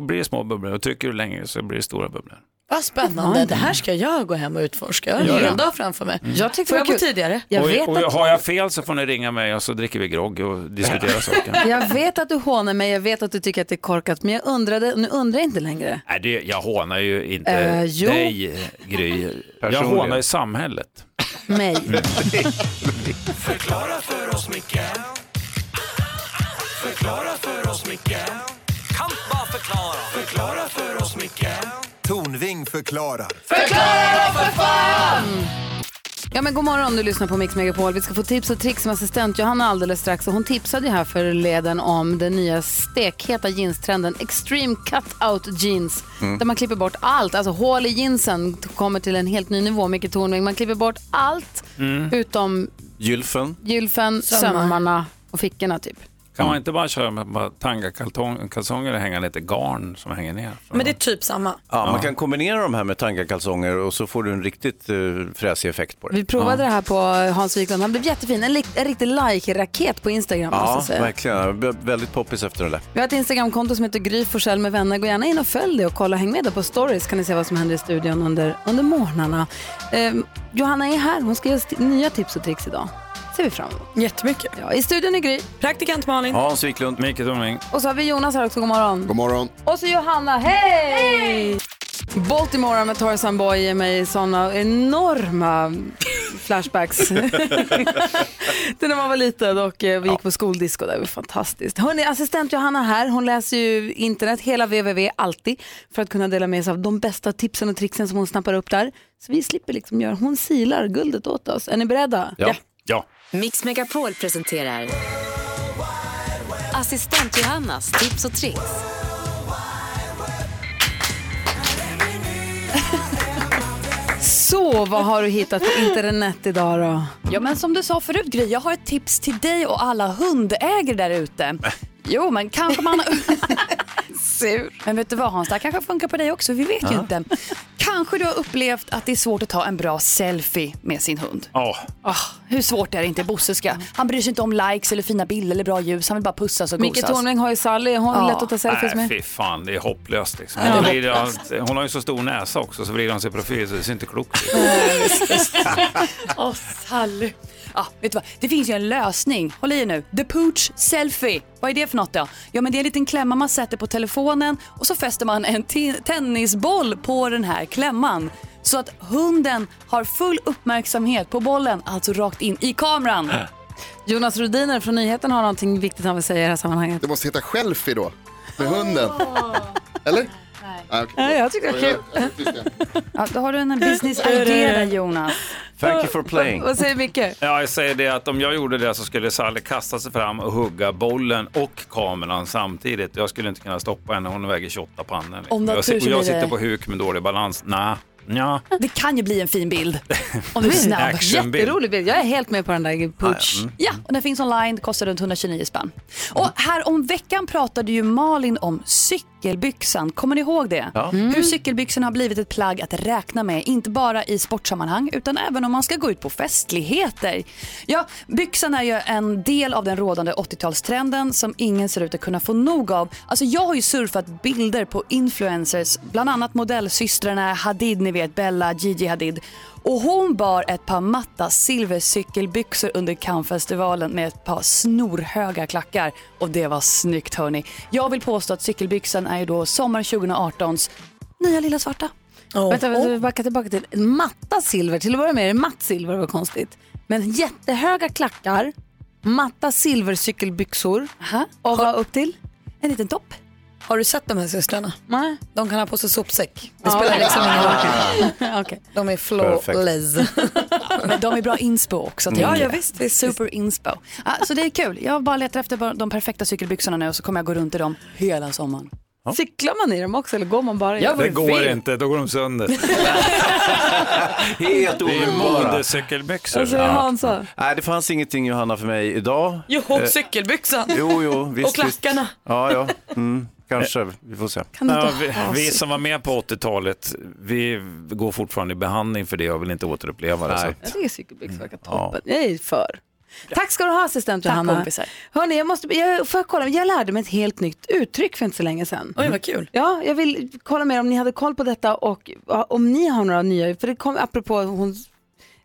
S18: blir det små bubblor. Och trycker du längre så blir det stora bubblor.
S5: Vad spännande, det här ska jag gå hem och utforska. Jag har
S18: Gör
S5: en hel
S18: det.
S5: dag framför mig.
S18: Mm.
S1: Jag tyckte
S5: Får
S1: det
S5: jag
S1: var
S5: gå
S1: kul.
S5: tidigare?
S1: Jag
S18: och
S1: vet
S18: och
S1: att-
S18: har jag fel så får ni ringa mig och så dricker vi grogg och *laughs* diskuterar saker.
S1: *laughs* Jag vet att du hånar mig, jag vet att du tycker att det är korkat, men jag undrade, nu undrar jag inte längre.
S18: Nej, det, jag hånar ju inte
S1: Eh, jo.
S18: dig, Gry. Jag
S3: Personligen.
S18: hånar ju samhället.
S1: Mig.
S18: Mm.
S4: Förklara för oss, Micke Förklara för oss, Micke Kan bara förklara Förklara för oss, Micke
S12: Tornving förklarar.
S4: Förklara då, för fan!
S1: Ja men god morgon du lyssnar på Mix Megapol. Vi ska få tips och tricks med assistent Johanna alldeles strax. Och hon tipsade ju här för leden om den nya stekheta jeanstrenden Extreme Cutout Jeans.
S20: Mm.
S1: Där man klipper bort allt, alltså hål i jeansen kommer till en helt ny nivå. Micke Tornving, man klipper bort allt
S18: Mm.
S1: utom
S18: Gylfen.
S1: gylfen,
S18: Sömmar.
S1: sömmarna och fickorna typ.
S18: Kan man inte bara köra med bara tangakalsonger och hänga lite garn som hänger ner?
S5: Men det är typ samma.
S3: Ja, man kan kombinera de här med tangakalsonger och så får du en riktigt uh, fräsig effekt på det.
S1: Vi provade
S3: ja.
S1: det här på Hans Wiklund, han blev jättefin. En, li- en riktig like-raket på Instagram måste
S3: Ja,
S1: jag säga.
S3: verkligen. Jag blev väldigt poppis efter det där.
S1: Vi har ett Instagramkonto som heter Gry Forssell med vänner. Gå gärna in och följ det och kolla. Häng med där på stories kan ni se vad som händer i studion under, under morgnarna. Ehm, Johanna är här. Hon ska ge oss t- nya tips och tricks idag. ser vi fram emot.
S5: Jättemycket.
S1: Ja, I studion är Gry.
S5: Praktikant Malin.
S3: Hans Wiklund.
S18: Micke Tornving.
S1: Och så har vi Jonas här också. God morgon.
S7: God morgon.
S1: Och så Johanna. Hej! Baltimore med Tarzan Boy ger mig sådana enorma *laughs*
S2: *laughs*
S1: flashbacks. det när man var liten och eh, vi gick på skoldisco. Det var fantastiskt. Hörrni, assistent Johanna här. Hon läser ju internet, hela www, alltid för att kunna dela med sig av de bästa tipsen och tricksen som hon snappar upp där. Så vi slipper liksom göra, hon silar guldet åt oss. Är ni beredda?
S11: Ja.
S18: ja.
S11: Mix Megapol presenterar Assistent Johannas tips och tricks.
S1: Så, vad har du hittat på internet idag då?
S20: Ja, men som du sa förut Gry, jag har ett tips till dig och alla hundägare där ute.
S18: Äh.
S20: Jo, men kanske man...
S1: *laughs*
S20: Sur. Men vet du vad Hans, det här kanske funkar på dig också, vi vet ju
S18: Ja.
S20: inte. Kanske du har upplevt att det är svårt att ta en bra selfie med sin hund.
S18: Ja,
S20: Ah, hur svårt är det inte? Bosse ska... Han bryr sig inte om likes eller fina bilder eller bra ljus. Han vill bara pussas och
S1: Micke
S20: gosas.
S1: Tornving har ju Sally, hon är
S20: Ja.
S1: lätt att ta selfies
S18: Nej,
S1: med.
S18: fy fan, det är hopplöst. Liksom.
S1: Ja, det är
S18: Då blir det
S1: hopplöst.
S18: allt- hon har ju så stor näsa också, så vrider hon sig i profil så det ser inte klokt ut.
S20: *laughs* Åh, Sally. Ja, vet du vad? Det finns ju en lösning. Håll i er nu. The Pooch Selfie. Vad är det för något då? Ja, men det är en liten klämma man sätter på telefonen och så fäster man en te- tennisboll på den här klämman. så att hunden har full uppmärksamhet på bollen, alltså rakt in i
S3: Äh.
S20: kameran.
S1: Jonas Rhodiner från nyheten har någonting viktigt han vill säga i det här sammanhanget.
S7: Det måste heta Shelfie då, med hunden. Eller? Nej. Ah, okay.
S1: Ja, jag tycker det är
S20: kul. Ja, då har du en business idea där Jonas.
S3: Thank you for playing.
S1: Vad säger Micke?
S18: Ja, jag säger det att om jag gjorde det så skulle Sally kasta sig fram och hugga bollen och kameran samtidigt. Jag skulle inte kunna stoppa henne, hon väger 28 pannor. liksom.
S20: Om du har
S18: jag, si-
S20: tur så
S18: och jag
S20: blir det-
S18: sitter på huk med dålig balans. Nja, nja.
S20: Det kan ju bli en fin bild om du är snabb.
S18: Actionbild.
S1: Jätterolig bild. Jag är helt med på den där putsch.
S18: Mm.
S20: Ja, och den finns online, kostar runt 129 spänn. Och här om veckan pratade ju Malin om cykelbyxan. Kommer ni ihåg det?
S21: Ja.
S20: Hur cykelbyxan har blivit ett plagg att räkna med, inte bara i sportsammanhang utan även om man ska gå ut på festligheter. Ja, byxan är ju en del av den rådande 80-talstrenden som ingen ser ut att kunna få nog av. Alltså jag har ju surfat bilder på influencers, bland annat modellsystrarna Hadid, ni vet Bella, Gigi Hadid. Och hon bar ett par matta silvercykelbyxor under Cannesfestivalen med ett par snorhöga klackar. Och det var snyggt hörni. Jag vill påstå att cykelbyxan är ju då sommar 2018s nya lilla svarta.
S1: Vänta, vänta, vi backar tillbaka till matta silver. Till att börja med är det matt silver, vad konstigt. Men jättehöga klackar, matta silvercykelbyxor och vad upp till?
S20: En liten topp.
S5: Har du sett de här systrarna?
S1: Nej.
S5: De kan ha på sig sopsäck. Det
S1: Ja.
S5: spelar liksom ingen roll.
S1: *laughs* Okej.
S5: De är flawless.
S20: Men de är bra inspo också.
S5: Mm.
S20: tänker
S5: Ja, ja,
S20: jag.
S5: visst,
S20: Det är super inspo. Ah, så det är kul. Jag bara letar efter bara de perfekta cykelbyxorna nu och så kommer jag gå runt i dem hela sommaren.
S1: Cyklar man i dem också eller går man bara i dem?
S18: det går inte, då går de sönder.
S3: Helt
S18: Det är ju
S3: omedelbara.
S18: modecykelbyxor.
S1: Vad säger Hansa?
S3: Nej, det fanns ingenting Johanna för mig idag. Eh,
S2: Jo, cykelbyxan.
S3: Jo, jo, visst.
S2: Och klackarna.
S3: Visst. Ja, ja. Mm, kanske. Vi får se.
S2: Kan du inte
S18: Ja, vi,
S2: ha
S18: vi
S2: cykel?
S18: som var med på 80-talet, vi går fortfarande i behandling för det och vill inte återuppleva det. Så
S1: Nej. Jag
S18: att,
S1: tycker cykelbyxor verkar
S18: Ja.
S1: toppen. Jag är för. Tack ska du ha assistent
S20: Tack,
S1: Johanna.
S20: kompisar.
S1: Hörni, jag måste, jag, får jag kolla, jag lärde mig ett helt nytt uttryck för inte så länge sedan.
S5: Oj, vad kul.
S1: Ja, jag vill kolla med er om ni hade koll på detta och ja, om ni har några nya, för det kom apropå hon,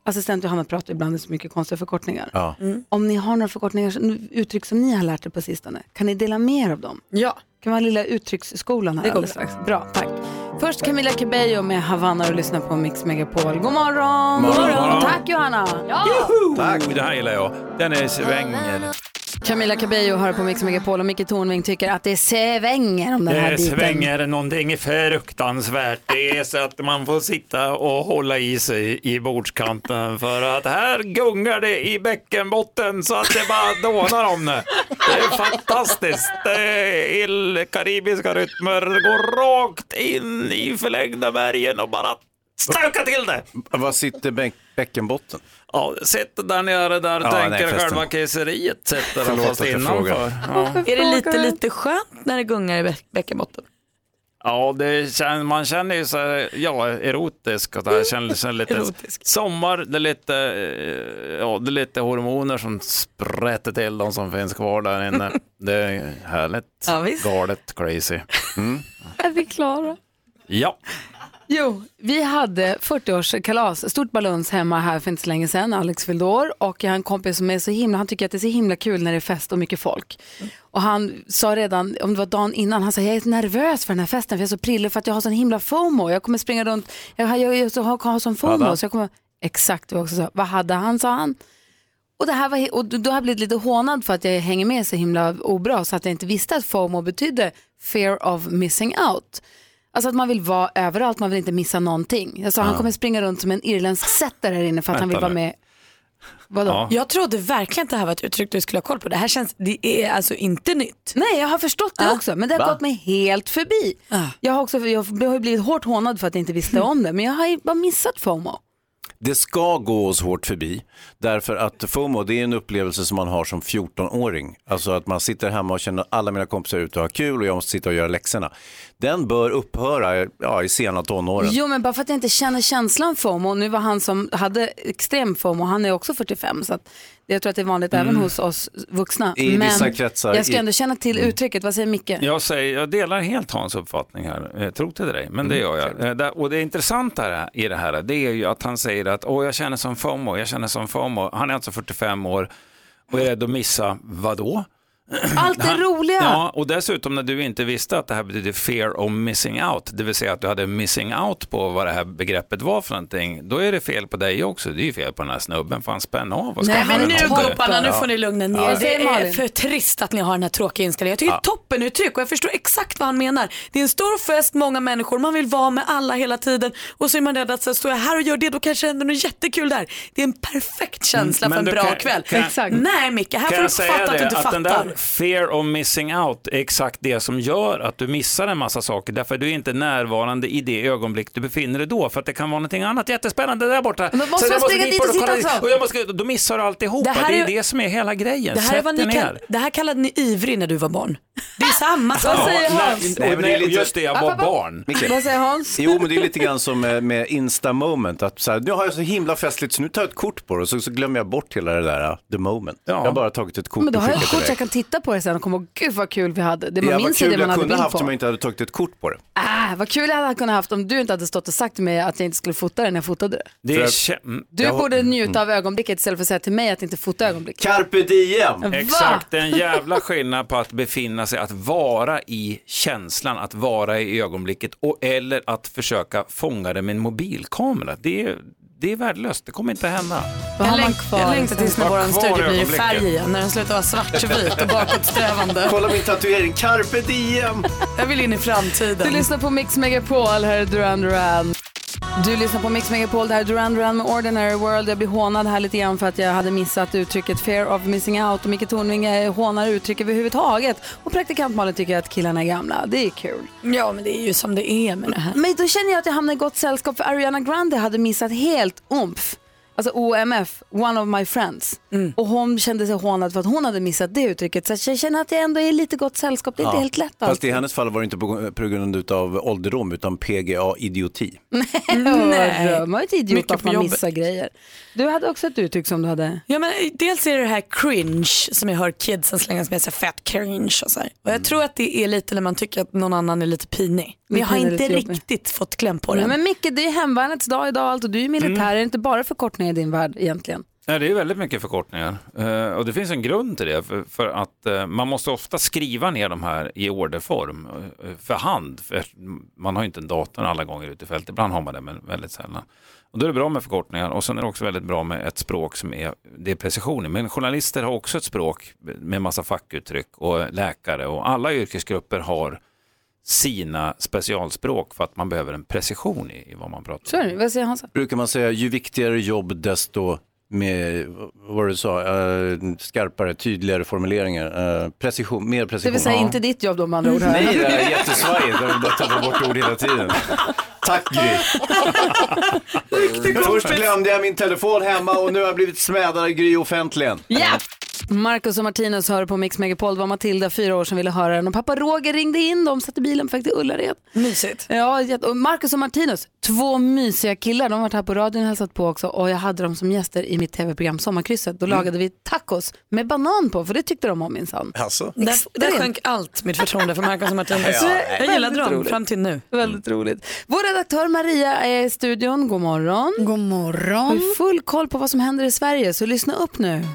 S1: assistent Johanna pratar ibland om så mycket konstiga förkortningar.
S18: ja.
S1: Om ni har några förkortningar, som- uttryck som ni har lärt er på sistone, kan ni dela med er av dem?
S5: Ja.
S1: Kan vara lilla uttrycksskolan här
S5: Det går
S1: alldeles strax. Bra, tack. Först Camila Cabello med Havanna och lyssna på Mix Megapol. God morgon!
S18: God morgon.
S1: Tack Johanna!
S18: Tack, det här gillar jag. Den är svänger.
S1: Camila Cabello hör på Mix Megapol och Micke Tornving tycker att det svänger om den här
S18: det
S1: biten.
S18: Eh, svänger någonting fruktansvärt. Det är så att man får sitta och hålla i sig i bordskanten för att här gungar det i bäckenbotten så att det bara dånar om det. Det är fantastiskt. Det är karibiska rytmer går rakt in i förlängda bergen och bara stökar till det.
S3: Vad sitter bäck, bäckenbotten?
S18: Ja, sitter där nere där
S3: Ja,
S18: tänker
S3: nej, förresten.
S18: själva kejseriet sätter de
S3: Förlåt
S18: fast
S3: att jag frågar.
S18: innanför. Ja.
S2: Är det lite, lite skönt när det gungar i bä- bäckenbotten?
S18: Ja, det kän, man känner ju så här, ja, erotisk och det här känns känns
S1: *laughs*
S18: lite sommar, det är lite, eh, ja, det är lite hormoner som sprätter till de som finns kvar där
S1: *laughs*
S18: inne. Det är härligt,
S1: Ja, visst.
S18: galet, crazy. Mm.
S1: Är vi klara?
S18: Ja,
S1: Jo, vi hade 40-årskalas, stort balans hemma här för inte så länge sedan. Alex fyllde år och jag har en kompis som är så himla, han tycker att det är så himla kul när det är fest och mycket folk. Och han sa redan, om det var dagen innan, han sa jag är nervös för den här festen för jag är så prillig för att jag har sån himla fomo. Jag kommer springa runt, jag, har- jag, jag, jag har, har sån
S5: Hade
S1: fomo.
S5: han?
S1: Så jag kommer, exakt, jag också sa, vad hade han, sa han. Och, det här var, he- och då då har jag blivit lite hånad för att jag hänger med så himla obra så att jag inte visste att FOMO betydde fear of missing out. Alltså att man vill vara överallt, man vill inte missa någonting. Jag sa han
S5: Ja.
S1: kommer springa runt som en irländsk setter här inne för att han vill
S5: Vänta
S1: vara
S5: nu.
S1: med. Vadå?
S5: Ja. Jag trodde verkligen att det här var ett uttryck du skulle ha koll på. Det här känns, det är alltså inte nytt.
S1: Nej, jag har förstått det också, men det har
S5: Va?
S1: gått mig helt förbi. Jag, har också, jag har ju blivit hårt hånad för att jag
S5: *laughs*
S1: inte visste om det, men jag har ju bara missat FOMO.
S3: Det ska gå oss hårt förbi, därför att FOMO det är en upplevelse som man har som 14-åring. Alltså att man sitter hemma och känner att alla mina kompisar är ute och har kul och jag måste sitta och göra läxorna. Den bör upphöra ja, i sena tonåren.
S1: Jo, men bara för att jag inte känner känslan FOMO, nu var han som hade extrem FOMO, han är också 45, så att jag tror att det är vanligt även
S18: Mm.
S1: hos oss vuxna.
S18: I
S1: men
S18: vissa kretsar,
S1: jag ska
S18: i-
S1: ändå känna till
S18: Mm.
S1: uttrycket, vad säger Micke?
S18: jag, säger, jag delar helt Hans uppfattning här, eh, tro till dig, men
S1: Mm.
S18: det gör jag. Eh, där- Och det intressanta här- i det här, det är ju att han säger att Åh, jag känner som FOMO, jag känner som FOMO. Han är alltså 45 år och är rädd att missa vadå?
S20: Allt det
S18: Han-
S20: roliga.
S18: Ja, och dessutom när du inte visste att det här betyder fear of missing out, det vill säga att du hade missing out på vad det här begreppet var för någonting, då är det fel på dig också. Det är ju fel på den här snubben, för han spänn av och
S5: Nej
S18: skaffa
S5: men
S18: den
S5: nu
S18: här podden.
S5: gopparna, nu
S18: Ja.
S5: får ni lugna ner
S18: Ja.
S5: er. Det är för trist att ni har den här tråkiga inställningen. Jag tycker det är toppenuttryck och jag förstår exakt vad han menar. Det är en stor fest, många människor, man vill vara med alla hela tiden och så är man rädd att så står jag här och gör det, då kanske det händer något jättekul där. Det är en perfekt känsla
S18: Mm, men
S5: för en
S18: då
S5: bra
S18: kan-
S5: kväll.
S18: kan- Exakt.
S5: Nej Micke, här
S18: Kan
S5: får du
S18: jag säga
S5: fatta att du
S18: det,
S5: inte
S18: att den
S5: fattar.
S18: där fear of missing out är exakt det som gör att du missar en massa saker, därför att du är inte närvarande i det ögonblick du befinner dig då, för att det kan vara någonting annat jättespännande där borta.
S5: Men då måste
S18: Så
S5: jag
S18: jag
S5: springa dit
S18: bort
S5: och sitta
S18: kolla-
S5: också.
S18: Och jag måste, då missar du alltihopa,
S5: Det här
S18: det är
S5: är-
S18: det som är hela grejen.
S5: Det här, är
S18: Sätt
S5: vad
S18: dig
S5: ni
S18: ner.
S5: kall- det här kallade ni ivrig när du var barn. Det är samma
S1: *laughs* alltså,
S5: sak.
S18: nej, nej, men det är lite- just det, jag var Pappa, pappa. barn.
S3: Micke.
S1: Vad säger Hans?
S3: Jo, men det är lite grann som eh, med Insta moment. Att så här, nu har jag så himla festligt så nu tar jag ett kort på det och så, så glömmer jag bort hela det där, eh, the moment. Jag har bara tagit ett kort
S1: Men då
S3: och
S1: har jag
S3: skickat
S1: kort så
S3: till
S1: jag
S3: dig.
S1: kan titta på det sen och komma ihåg, gud vad kul vi hade. Det man
S3: Ja, vad
S1: minns är
S3: kul
S1: det man
S3: jag
S1: hade
S3: kunde
S1: bild
S3: ha haft
S1: på.
S3: om jag inte hade tagit ett kort på det.
S1: Ah, vad kul jag hade kunnat haft om du inte hade stått och sagt till mig att jag inte skulle fota det när jag fotade det.
S18: Det
S3: För
S18: är
S3: att-
S18: kä- mm,
S1: Du
S18: jag-
S1: borde njuta av ögonblicket istället för att säga till mig att inte fota ögonblicket.
S3: Carpe diem!
S1: Va?
S18: Exakt, det är en jävla skillnad på att befinna sig, att vara i känslan, att vara i ögonblicket och eller att försöka fånga det med en mobilkamera. Det är, det är värdelöst, det kommer inte hända.
S5: Jag, läng- jag längtar tills när
S18: Var
S5: vår
S18: kvar i
S5: studio blir i
S18: ögonblicket.
S5: färg igen, när den slutar vara svartvit och
S8: *laughs*
S5: bakåtsträvande.
S3: *laughs* Kolla min tatuering, carpe diem!
S5: Jag vill in i
S1: Du
S5: framtiden.
S1: lyssnar på Mix Megapol, här är Duran Duran. Du lyssnar på Mix Megapol, det här är Duran Duran med Ordinary World. Jag blir hånad här lite grann för att jag hade missat uttrycket fear of missing out och Micke Tornving eh, hånar uttryck överhuvudtaget. Och praktikant Malin tycker att killarna är gamla, det är kul.
S5: Ja men det är ju som det är med det här.
S1: Men då känner jag att jag hamnar i gott sällskap för Ariana Grande hade missat helt OMF. Alltså OMF, one of my friends.
S5: Mm.
S1: Och hon kände sig hånad för att hon hade missat det uttrycket. Så jag känner att jag ändå är i lite gott sällskap, det är inte
S3: Ja.
S1: helt lätt
S3: Fast i hennes fall var det inte på, på grund av ålderdom utan PGA-idioti.
S1: Nej. Man är inte idiot
S5: Mycket
S1: att
S5: på
S1: man
S5: jobbet.
S1: missar grejer. Du hade också ett uttryck som du hade.
S5: Ja, men dels är det det här cringe som jag hör kidsen slänga sig med, så här, fett cringe och så här. Och jag tror att det är lite när man tycker att någon annan är lite pinig. Men jag har
S1: Lite pinig,
S5: inte
S1: lite jobbig.
S5: riktigt fått kläm på
S1: Nej,
S5: den.
S1: men Micke, det är ju hemvärnets dag idag allt och du är ju militär.
S18: Mm.
S1: Är det inte bara förkortningar i din värld egentligen?
S18: Ja, det är väldigt mycket förkortningar Eh, och det finns en grund till det för, för att eh, man måste ofta skriva ner de här i orderform eh, för hand. För man har ju inte en dator alla gånger ute i fält, ibland har man det men väldigt sällan. Och då är det bra med förkortningar och sen är det också väldigt bra med ett språk som är, det är precision i. Men journalister har också ett språk med massa fackuttryck och läkare och alla yrkesgrupper har sina specialspråk för att man behöver en precision i, i vad man pratar om.
S1: Så är det. Vad säger Hansa?
S3: Brukar man säga ju viktigare jobb desto med, vad var det du sa, eh, skarpare, tydligare formuleringar. Eh, precision, mer
S1: Det
S3: precision.
S1: vill säga
S3: Ja.
S1: inte ditt jobb då med andra ord.
S3: Nej, det är jättesvajigt. Jag vill bara tappa bort ord hela tiden. Tack Gry. Först glömde jag min telefon hemma och nu har jag blivit smädad av Gry offentligen.
S1: Ja! Marcus och Martinus hör på Mix Megapol. Det var Matilda, fyra år, som ville höra den. Och pappa Roger ringde in dem, satte bilen på väg till Ullared.
S5: Mysigt.
S1: Ja, jätte- och Marcus och Martinus, två mysiga killar. De har varit här på radion och hälsat på också. Och jag hade dem som gäster i mitt tv-program Sommarkrysset. Då lagade vi tacos med banan på, för det tyckte de om minsann.
S3: Alltså.
S5: Där, där
S1: Extremt.
S5: sjönk allt mitt förtroende för Marcus och Martinus. *laughs*
S1: Ja,
S5: jag gillade
S1: väldigt
S5: dem
S1: roligt.
S5: fram till nu.
S1: Väldigt roligt. Vår redaktör Maria är i studion. God morgon.
S8: God morgon.
S1: Har full koll på vad som händer i Sverige, så lyssna upp nu.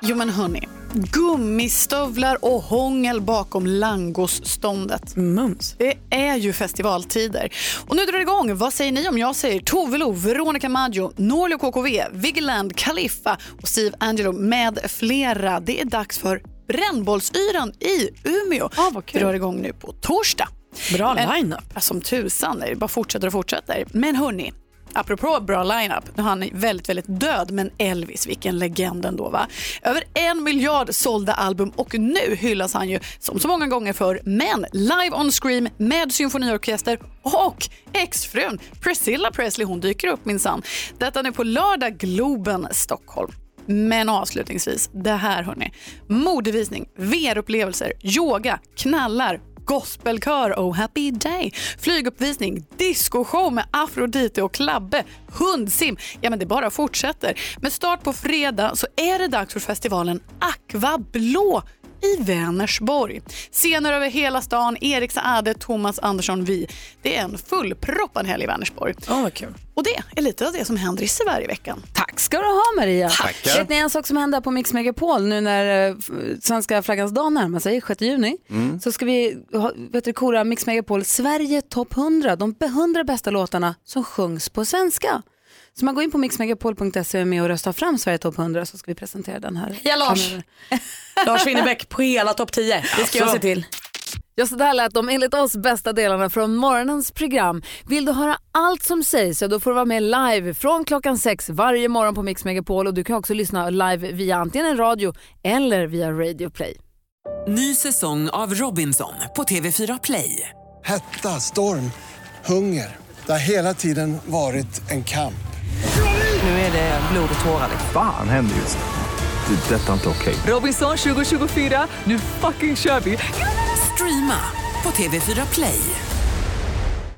S8: Jo men hörni, gummistövlar och hångel bakom langosståndet.
S5: Mums.
S8: Det är ju festivaltider. Och nu drar det igång. Vad säger ni om jag säger Tove Lo, Veronica Maggio, Norli KKV, Vigeland, Kaliffa och Steve Angelo med flera. Det är dags för brännbollsyran i Umeå. Ah, vad kul. drar igång nu på torsdag.
S5: Bra
S8: Men-
S5: line-up.
S8: Ja, Som tusan, det bara fortsätter och fortsätter. Men hörni, apropå bra line-up, nu är han väldigt, väldigt död, men Elvis, vilken legend ändå va? Över en miljard sålda album och nu hyllas han ju som så många gånger för men live on Scream med symfoniorkester och exfrun Priscilla Presley, hon dyker upp minsann. Detta nu på lördag, Globen, Stockholm. Men avslutningsvis, det här hörni. Modevisning, VR-upplevelser, yoga, knallar, gospelkör, Oh happy day, flyguppvisning, diskoshow med Afrodite och Klabbe, hundsim. Ja, men det bara fortsätter. Med start på fredag så är det dags för festivalen Aqua Blå i Vänersborg. Scener över hela stan, Erik Saade, Thomas Andersson, vi. Det är en fullproppad helg i Vänersborg.
S5: Oh, vad kul.
S8: Och det är lite av det som händer i Sverige i veckan. Tack
S1: ska du ha Maria.
S8: Tackar.
S1: Vet ni en sak som händer på Mix Megapol nu när eh, f- svenska flaggans dag närmar sig, 6 juni,
S8: Mm.
S1: så ska vi ha- vet du, kora Mix Megapol Sverige topp 100, de be- 100 bästa låtarna som sjungs på svenska. Så man går in på mixmegapol.se och är med och röstar fram Sverige topp 100 så ska vi presentera den här.
S2: Ja, Lars. Lars Winnerbäck på hela topp 10. Det ska jag
S1: Alltså.
S2: se till.
S22: Ja, så där lät de enligt oss bästa delarna från morgonens program. Vill du höra allt som sägs så då får du vara med live från klockan sex varje morgon på Mix Megapol och du kan också lyssna live via antingen en radio eller via Radio Play.
S4: Ny säsong av Robinson på TV4 Play.
S23: Hetta, storm, hunger. Det har hela tiden varit en kamp.
S4: Nu är det blod och tårar.
S24: Fan händer just nu. Det. är Detta är inte okej.
S4: Robinson 2024, nu fucking kör vi! Streama på TV4 Play.